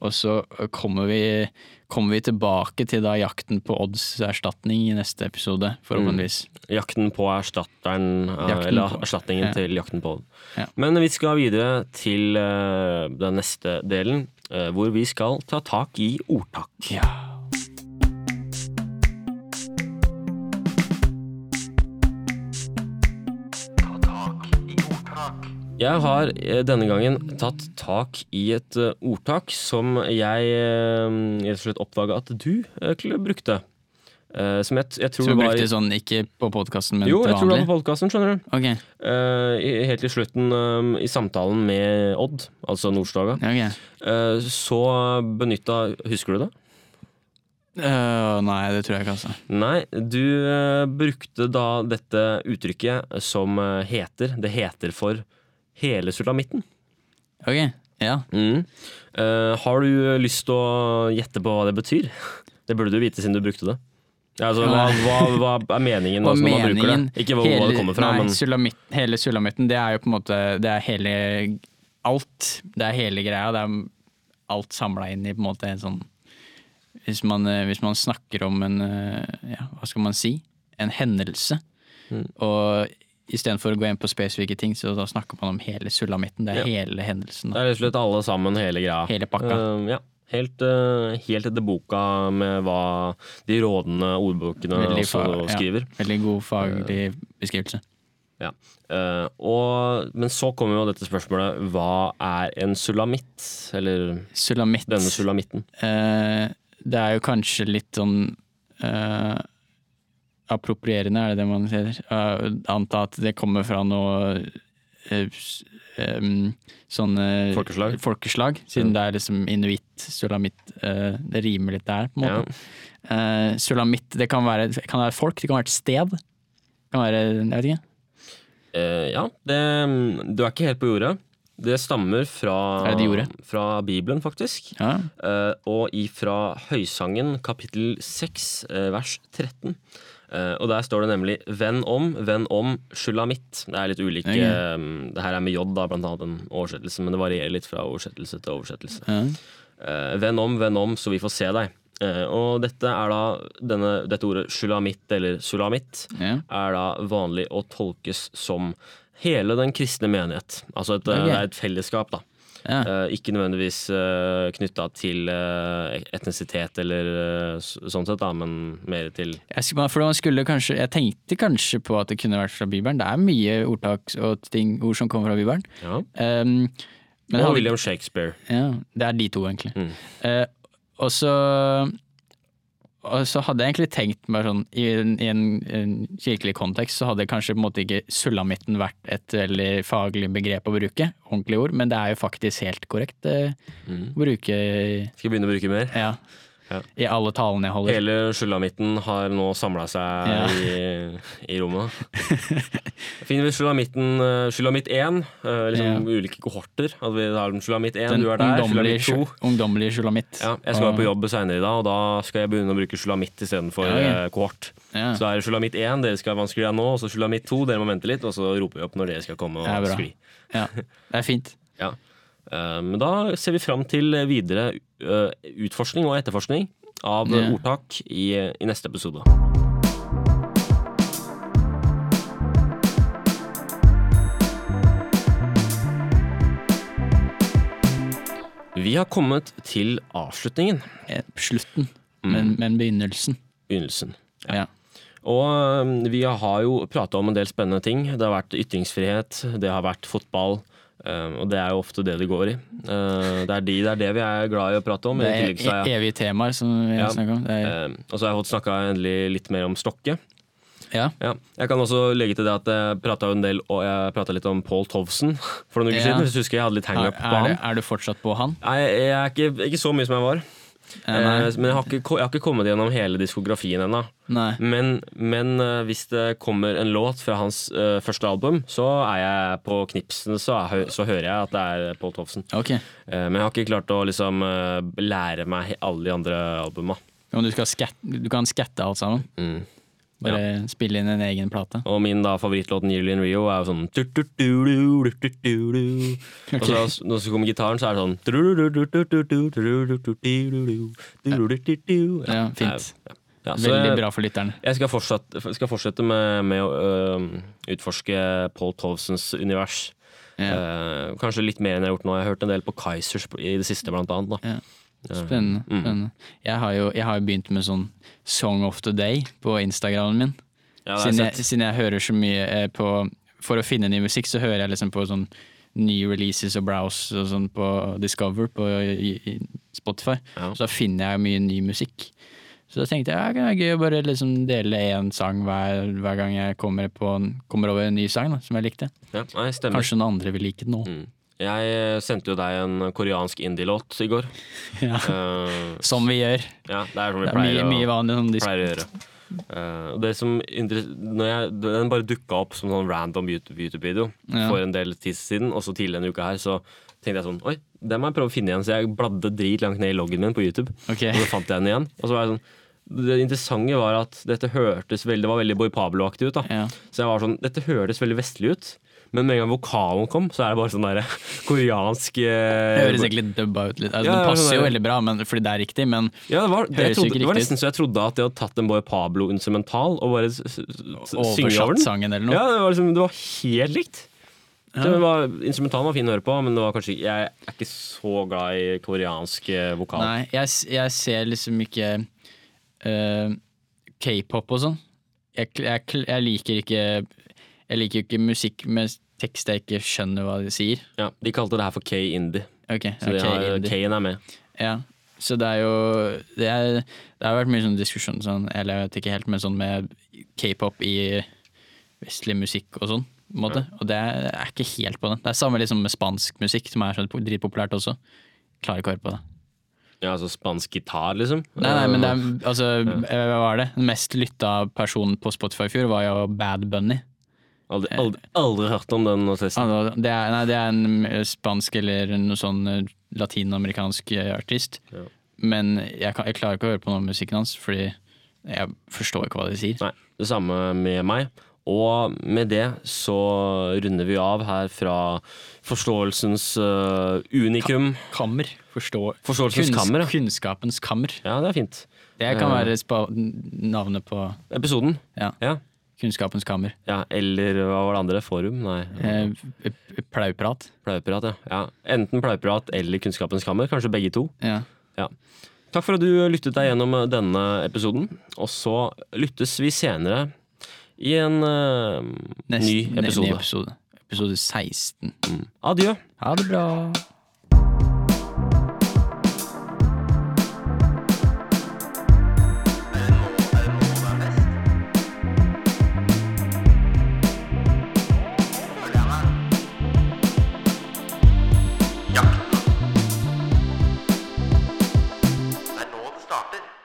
Speaker 3: og så kommer vi, kommer vi tilbake til da jakten på odds erstatning i neste episode, forhåpentligvis.
Speaker 2: Jakten på erstatteren, eh,
Speaker 3: Jakten
Speaker 2: eller
Speaker 3: på-
Speaker 2: erstatningen
Speaker 3: ja.
Speaker 2: til jakten på Odd.
Speaker 3: Ja.
Speaker 2: Men vi skal videre til eh, den neste delen, eh, hvor vi skal ta tak i ordtak.
Speaker 3: Ja.
Speaker 1: Ta tak i ordtak.
Speaker 2: Jeg har eh, denne gangen tatt tak i et eh, ordtak som jeg eh, rett og slett oppdaga at du eh, kl- brukte. Eh, Som jeg, t- jeg tror
Speaker 3: Så vi
Speaker 2: det var
Speaker 3: brukte sånn ikke på podkasten, men
Speaker 2: Jo, jeg
Speaker 3: til
Speaker 2: tror det
Speaker 3: vanlig.
Speaker 2: var på podkasten, skjønner du.
Speaker 3: Ok,
Speaker 2: Eh, i- Helt til slutten eh, i samtalen med Odd, altså Nordstoga,
Speaker 3: ok.
Speaker 2: eh, så benytta Husker du det?
Speaker 3: Øh, nei, det tror jeg ikke, altså.
Speaker 2: Nei, du eh, brukte da dette uttrykket som eh, heter Det heter for hele sulamitten.
Speaker 3: Ok, ja.
Speaker 2: Mm. Eh, har du lyst til å gjette på hva det betyr? *laughs* Det burde du vite siden du brukte det. Ja, Altså, hva, hva, hva er meningen
Speaker 3: Og
Speaker 2: altså, når man bruker
Speaker 3: meningen
Speaker 2: det? Ikke hvor, hvor det kommer fra,
Speaker 3: nei,
Speaker 2: men
Speaker 3: sulamit, Hele sulamitten, det er jo på en måte Det er hele alt. Det er hele greia. Det er alt samla inn i på en måte en sånn hvis man, eh, hvis man
Speaker 2: Mm.
Speaker 3: snakker om en eh, ja, Hva skal man si? En hendelse. Og istedenfor å gå inn på spesifikke ting, så da snakker man om hele sulamitten. Det er hele hendelsen.
Speaker 2: Det
Speaker 3: Da.
Speaker 2: er rett og slett alle sammen, hele greia.
Speaker 3: Hele pakka.
Speaker 2: Eh, ja. Helt, eh, helt etter boka med hva de rådende ordbøkene
Speaker 3: Veldig
Speaker 2: også
Speaker 3: fa- ja.
Speaker 2: skriver. Eh,
Speaker 3: Veldig god faglig beskrivelse.
Speaker 2: Ja. Eh, og, men så kommer jo dette spørsmålet hva er en sulamitt? Eller
Speaker 3: Sulamitt.
Speaker 2: denne sulamitten.
Speaker 3: Eh, det er jo kanskje litt sånn eh, approprierende, er det det man sier? Eh, anta at det kommer fra noe eh, s- em, sånne
Speaker 2: Folkeslag.
Speaker 3: folkeslag, siden det er liksom inuitt, sulamitt eh, Det rimer litt der, på en måte. Eh, sulamitt, det kan være, kan være folk, det kan være et sted. Det kan være, jeg vet ikke.
Speaker 2: Eh, ja, det, du er ikke helt på jordet. Det stammer fra,
Speaker 3: Er det det jordet?
Speaker 2: fra Bibelen, faktisk.
Speaker 3: Ja.
Speaker 2: Eh, og ifra Høysangen kapittel 6 eh, vers 13. Eh, og der står det nemlig 'Venn om, venn om, sjulamitt'. Det er litt ulike
Speaker 3: Ok.
Speaker 2: eh, Det her er med J, da, blant annet, den oversettelsen, men det varierer litt fra oversettelse til oversettelse.
Speaker 3: Ja.
Speaker 2: Eh, venn om, venn om, så vi får se deg. Eh, og dette er da denne, dette ordet sjulamitt eller sulamitt
Speaker 3: Ja.
Speaker 2: er da vanlig å tolkes som hele den kristne menighet. Altså et,
Speaker 3: Ok.
Speaker 2: det er et fellesskap, da.
Speaker 3: Ja.
Speaker 2: Eh, ikke nødvendigvis uh, knytta til eh, etnisitet eller eh, s- sånn sett, da, men mer til
Speaker 3: Jeg, skulle- for man skulle kanskje, jeg tenkte kanskje på at det kunne vært fra Bibelen. Det er mye ordtak og ting, ord som kommer fra Bibelen.
Speaker 2: ja.
Speaker 3: Um,
Speaker 2: Og
Speaker 3: men hadde-
Speaker 2: William Shakespeare.
Speaker 3: ja, det er de to, egentlig.
Speaker 2: Mm.
Speaker 3: Eh, og så og så hadde jeg egentlig tenkt meg sånn, i en, i en, en kirkelig kontekst, så hadde kanskje på en måte ikke sulamitten vært et veldig faglig begrep å bruke, ordentlig ord, men det er jo faktisk helt korrekt eh, å bruke
Speaker 2: Skal jeg begynne å bruke mer?
Speaker 3: ja,
Speaker 2: Mm. Ja.
Speaker 3: i alle talene jeg holder.
Speaker 2: Hele sulamitten har nå samla seg
Speaker 3: Ja.
Speaker 2: i, i rommet. Finner vi sulamitten eh, Sulamitt 1, eh, liksom ulike kohorter. At vi har Sulamitt 1,
Speaker 3: Den
Speaker 2: du er der.
Speaker 3: ungdommelige
Speaker 2: Sulamitt 2.
Speaker 3: sjul- ungdommelige sulamitt.
Speaker 2: Ja, jeg skal være på
Speaker 3: Og-
Speaker 2: jobb senere i dag, og da skal jeg begynne å bruke sulamitt istedenfor
Speaker 3: Ja, ja.
Speaker 2: eh, kohort.
Speaker 3: Ja.
Speaker 2: Så da er det sulamitt 1, dere skal ha vanskeligere nå, og så sulamitt 2, dere må vente litt, og så roper vi opp når dere skal komme
Speaker 3: Det er
Speaker 2: og
Speaker 3: bra.
Speaker 2: skli.
Speaker 3: Ja, det er fint.
Speaker 2: Ja. Eh, Men da ser vi fram til videre eh, utforskning og etterforskning av eh,
Speaker 3: Ja.
Speaker 2: ordtak i, i neste episode. Vi har kommet til avslutningen.
Speaker 3: Eh, Slutten,
Speaker 2: Mm.
Speaker 3: men, men begynnelsen.
Speaker 2: Begynnelsen.
Speaker 3: Ja.
Speaker 2: Og øhm, vi har jo prata om en del spennende ting. Det har vært ytringsfrihet, det har vært fotball. øhm, og det er jo ofte det det går i. Eh, det er de, det er det vi er glad i å prate om.
Speaker 3: Det
Speaker 2: i
Speaker 3: er
Speaker 2: tillegg så er
Speaker 3: e-
Speaker 2: jeg-
Speaker 3: evige temaer som vi
Speaker 2: Ja.
Speaker 3: har snakket om. Det er,
Speaker 2: øhm, og så har jeg fått snakka endelig litt mer om Stokke.
Speaker 3: ja.
Speaker 2: Ja. Jeg kan også legge til det at jeg prata en del og jeg pratet litt om Paul Tovsen for noen uker
Speaker 3: Ja.
Speaker 2: siden. Hvis du husker jeg hadde litt
Speaker 3: er,
Speaker 2: hangup på
Speaker 3: er,
Speaker 2: han.
Speaker 3: det, er du fortsatt på han?
Speaker 2: Nei, jeg er ikke, ikke så mye som jeg var.
Speaker 3: Eh, nei.
Speaker 2: Eh, men jeg har, ikke, ko- jeg har ikke kommet gjennom hele diskografien ennå.
Speaker 3: Nei.
Speaker 2: Men, men eh, hvis det kommer en låt fra hans eh, første album, så er jeg på knipsene, så, er, så hører jeg at det er Pål Tofsen.
Speaker 3: Ok.
Speaker 2: Eh, men jeg har ikke klart å liksom eh, lære meg he- alle de andre albuma.
Speaker 3: Om du, skal skat, du kan skatte alt sammen?
Speaker 2: Mm.
Speaker 3: Bare spille inn en egen plate?
Speaker 2: Og min da favorittlåt, Nearly in Rio, er jo sånn du-du-du-du, du-du-du-du. Og så når så kommer gitaren, så er det sånn du-du-du-du-du-du-du, du-du-du-du-du-du, du-du-du-du-du.
Speaker 3: Ja, fint.
Speaker 2: Ja, så
Speaker 3: Veldig
Speaker 2: jeg-
Speaker 3: bra for lytterne.
Speaker 2: Jeg skal fortsette, skal fortsette med, med å øhm, utforske Paul Tovsens univers.
Speaker 3: Ja.
Speaker 2: Eh, kanskje litt mer enn jeg har gjort nå. Jeg har hørt en del på Kaizers i det siste, blant annet. Da.
Speaker 3: Ja. Spennende.
Speaker 2: Mm.
Speaker 3: spennende. Jeg, har jo, jeg har jo begynt med sånn Song of the Day på Instagramen min.
Speaker 2: Ja, altså det har jeg
Speaker 3: siden, jeg,
Speaker 2: sett.
Speaker 3: siden jeg hører så mye eh, på For å finne ny musikk, så hører jeg liksom på sånn nye releases og browse og sånn på Discover på i, i Spotify.
Speaker 2: Ja.
Speaker 3: Så da finner jeg mye ny musikk. Så da tenkte jeg ja, det er gøy å bare liksom dele én sang hver, hver gang jeg kommer, på en, kommer over en ny sang da, som jeg likte.
Speaker 2: Ja, nei, stemmer.
Speaker 3: Kanskje noen andre vil like den nå.
Speaker 2: Mm. Jeg eh, sendte jo deg en koreansk indie-låt i går.
Speaker 3: Ja.
Speaker 2: Eh,
Speaker 3: Som vi gjør.
Speaker 2: ja, det er som vi
Speaker 3: Det er
Speaker 2: pleier,
Speaker 3: mye, mye
Speaker 2: å,
Speaker 3: vanlig. Sånn disk
Speaker 2: pleier å gjøre. Eh, og det som interes- når jeg, Den bare dukka opp som sånn random YouTube- YouTube-video
Speaker 3: Ja.
Speaker 2: for en del tid siden. Og så tidligere denne uka her Så tenkte jeg sånn Oi, den må jeg prøve å finne igjen. Så jeg bladde drit langt ned i loggen min på YouTube.
Speaker 3: Ok.
Speaker 2: Og så fant jeg den igjen. Og så var jeg sånn Det interessante var at dette hørtes veldig, det var veldig Boy Pablo-aktig ut. da
Speaker 3: Ja.
Speaker 2: Så jeg var sånn Dette høres veldig vestlig ut. Men med en gang vokalen kom, så er det bare sånn derre *laughs* koreansk
Speaker 3: Det
Speaker 2: eh,
Speaker 3: høres egentlig dubba ut litt. Altså,
Speaker 2: Ja, ja,
Speaker 3: den passer jo
Speaker 2: det-
Speaker 3: veldig bra, men, fordi det er riktig, men
Speaker 2: Ja, det var, det, jeg
Speaker 3: Høres jo
Speaker 2: trodde,
Speaker 3: ikke
Speaker 2: det var
Speaker 3: riktig
Speaker 2: nesten så jeg trodde at de hadde tatt en Boy Pablo-instrumental og bare s- s- s- synge over
Speaker 3: oversatt
Speaker 2: den.
Speaker 3: sangen eller noe.
Speaker 2: Ja, det var, liksom, det var helt likt. Så det var, instrumentalen var fin å høre på, men det var kanskje, jeg er ikke så glad i koreansk eh, vokal.
Speaker 3: Nei, jeg, s- jeg ser liksom ikke eh, K-pop og sånn. Jeg, kl- jeg, kl- jeg liker ikke Jeg liker jo ikke musikk med tekst jeg ikke skjønner hva de sier.
Speaker 2: Ja, de kalte det her for K-indie.
Speaker 3: Ok,
Speaker 2: Så
Speaker 3: ja,
Speaker 2: de har-
Speaker 3: K-indie.
Speaker 2: K-en er med.
Speaker 3: Ja, så det er jo Det, er, det har vært mye sånn diskusjon sånn, Eller jeg vet ikke helt, men sånn med K-pop i vestlig musikk og sånn. på en Måte. Og det er, jeg er ikke helt på den. Det er samme liksom med spansk musikk, som er sånn po- dritpopulært også. Klarer ikke å høre på det.
Speaker 2: Ja, altså spansk gitar, liksom.
Speaker 3: Nei, nei, men det er, altså, eh, hva var det? Den mest lytta personen på Spotify i fjor var jo Bad Bunny.
Speaker 2: Aldri, aldri, aldri hørt om den artisten.
Speaker 3: Altså, Det er, nei, det er en eh, spansk eller noe sånn eh, latinamerikansk eh, artist.
Speaker 2: Ja.
Speaker 3: Men jeg, kan, jeg klarer ikke å høre på noe av musikken hans, fordi jeg forstår ikke hva de sier.
Speaker 2: Nei, det samme med meg. Og med det så runder vi av her fra forståelsens eh, unikum.
Speaker 3: Kammer. Forstå.
Speaker 2: Forståelsens kammer, ja.
Speaker 3: Kunnskapens kammer.
Speaker 2: Ja, det er fint.
Speaker 3: Det kan
Speaker 2: Ja.
Speaker 3: være spa navnet på
Speaker 2: Episoden.
Speaker 3: ja,
Speaker 2: Ja.
Speaker 3: Kunnskapens kammer.
Speaker 2: ja. Eller hva var det andre? Forum? Nei.
Speaker 3: Eh, Plauprat.
Speaker 2: Pleierprat, ja. ja. Enten pleierprat eller Kunnskapens kammer. Kanskje begge to.
Speaker 3: Ja.
Speaker 2: Takk for at du lyttet deg gjennom eh, denne episoden. Og så lyttes vi senere i en eh,
Speaker 3: Nesten-
Speaker 2: ny
Speaker 3: Ny
Speaker 2: episode.
Speaker 3: episode. Episode 16.
Speaker 2: Adjø.
Speaker 3: Ha det bra.
Speaker 1: Jakten. Det er nå det starter.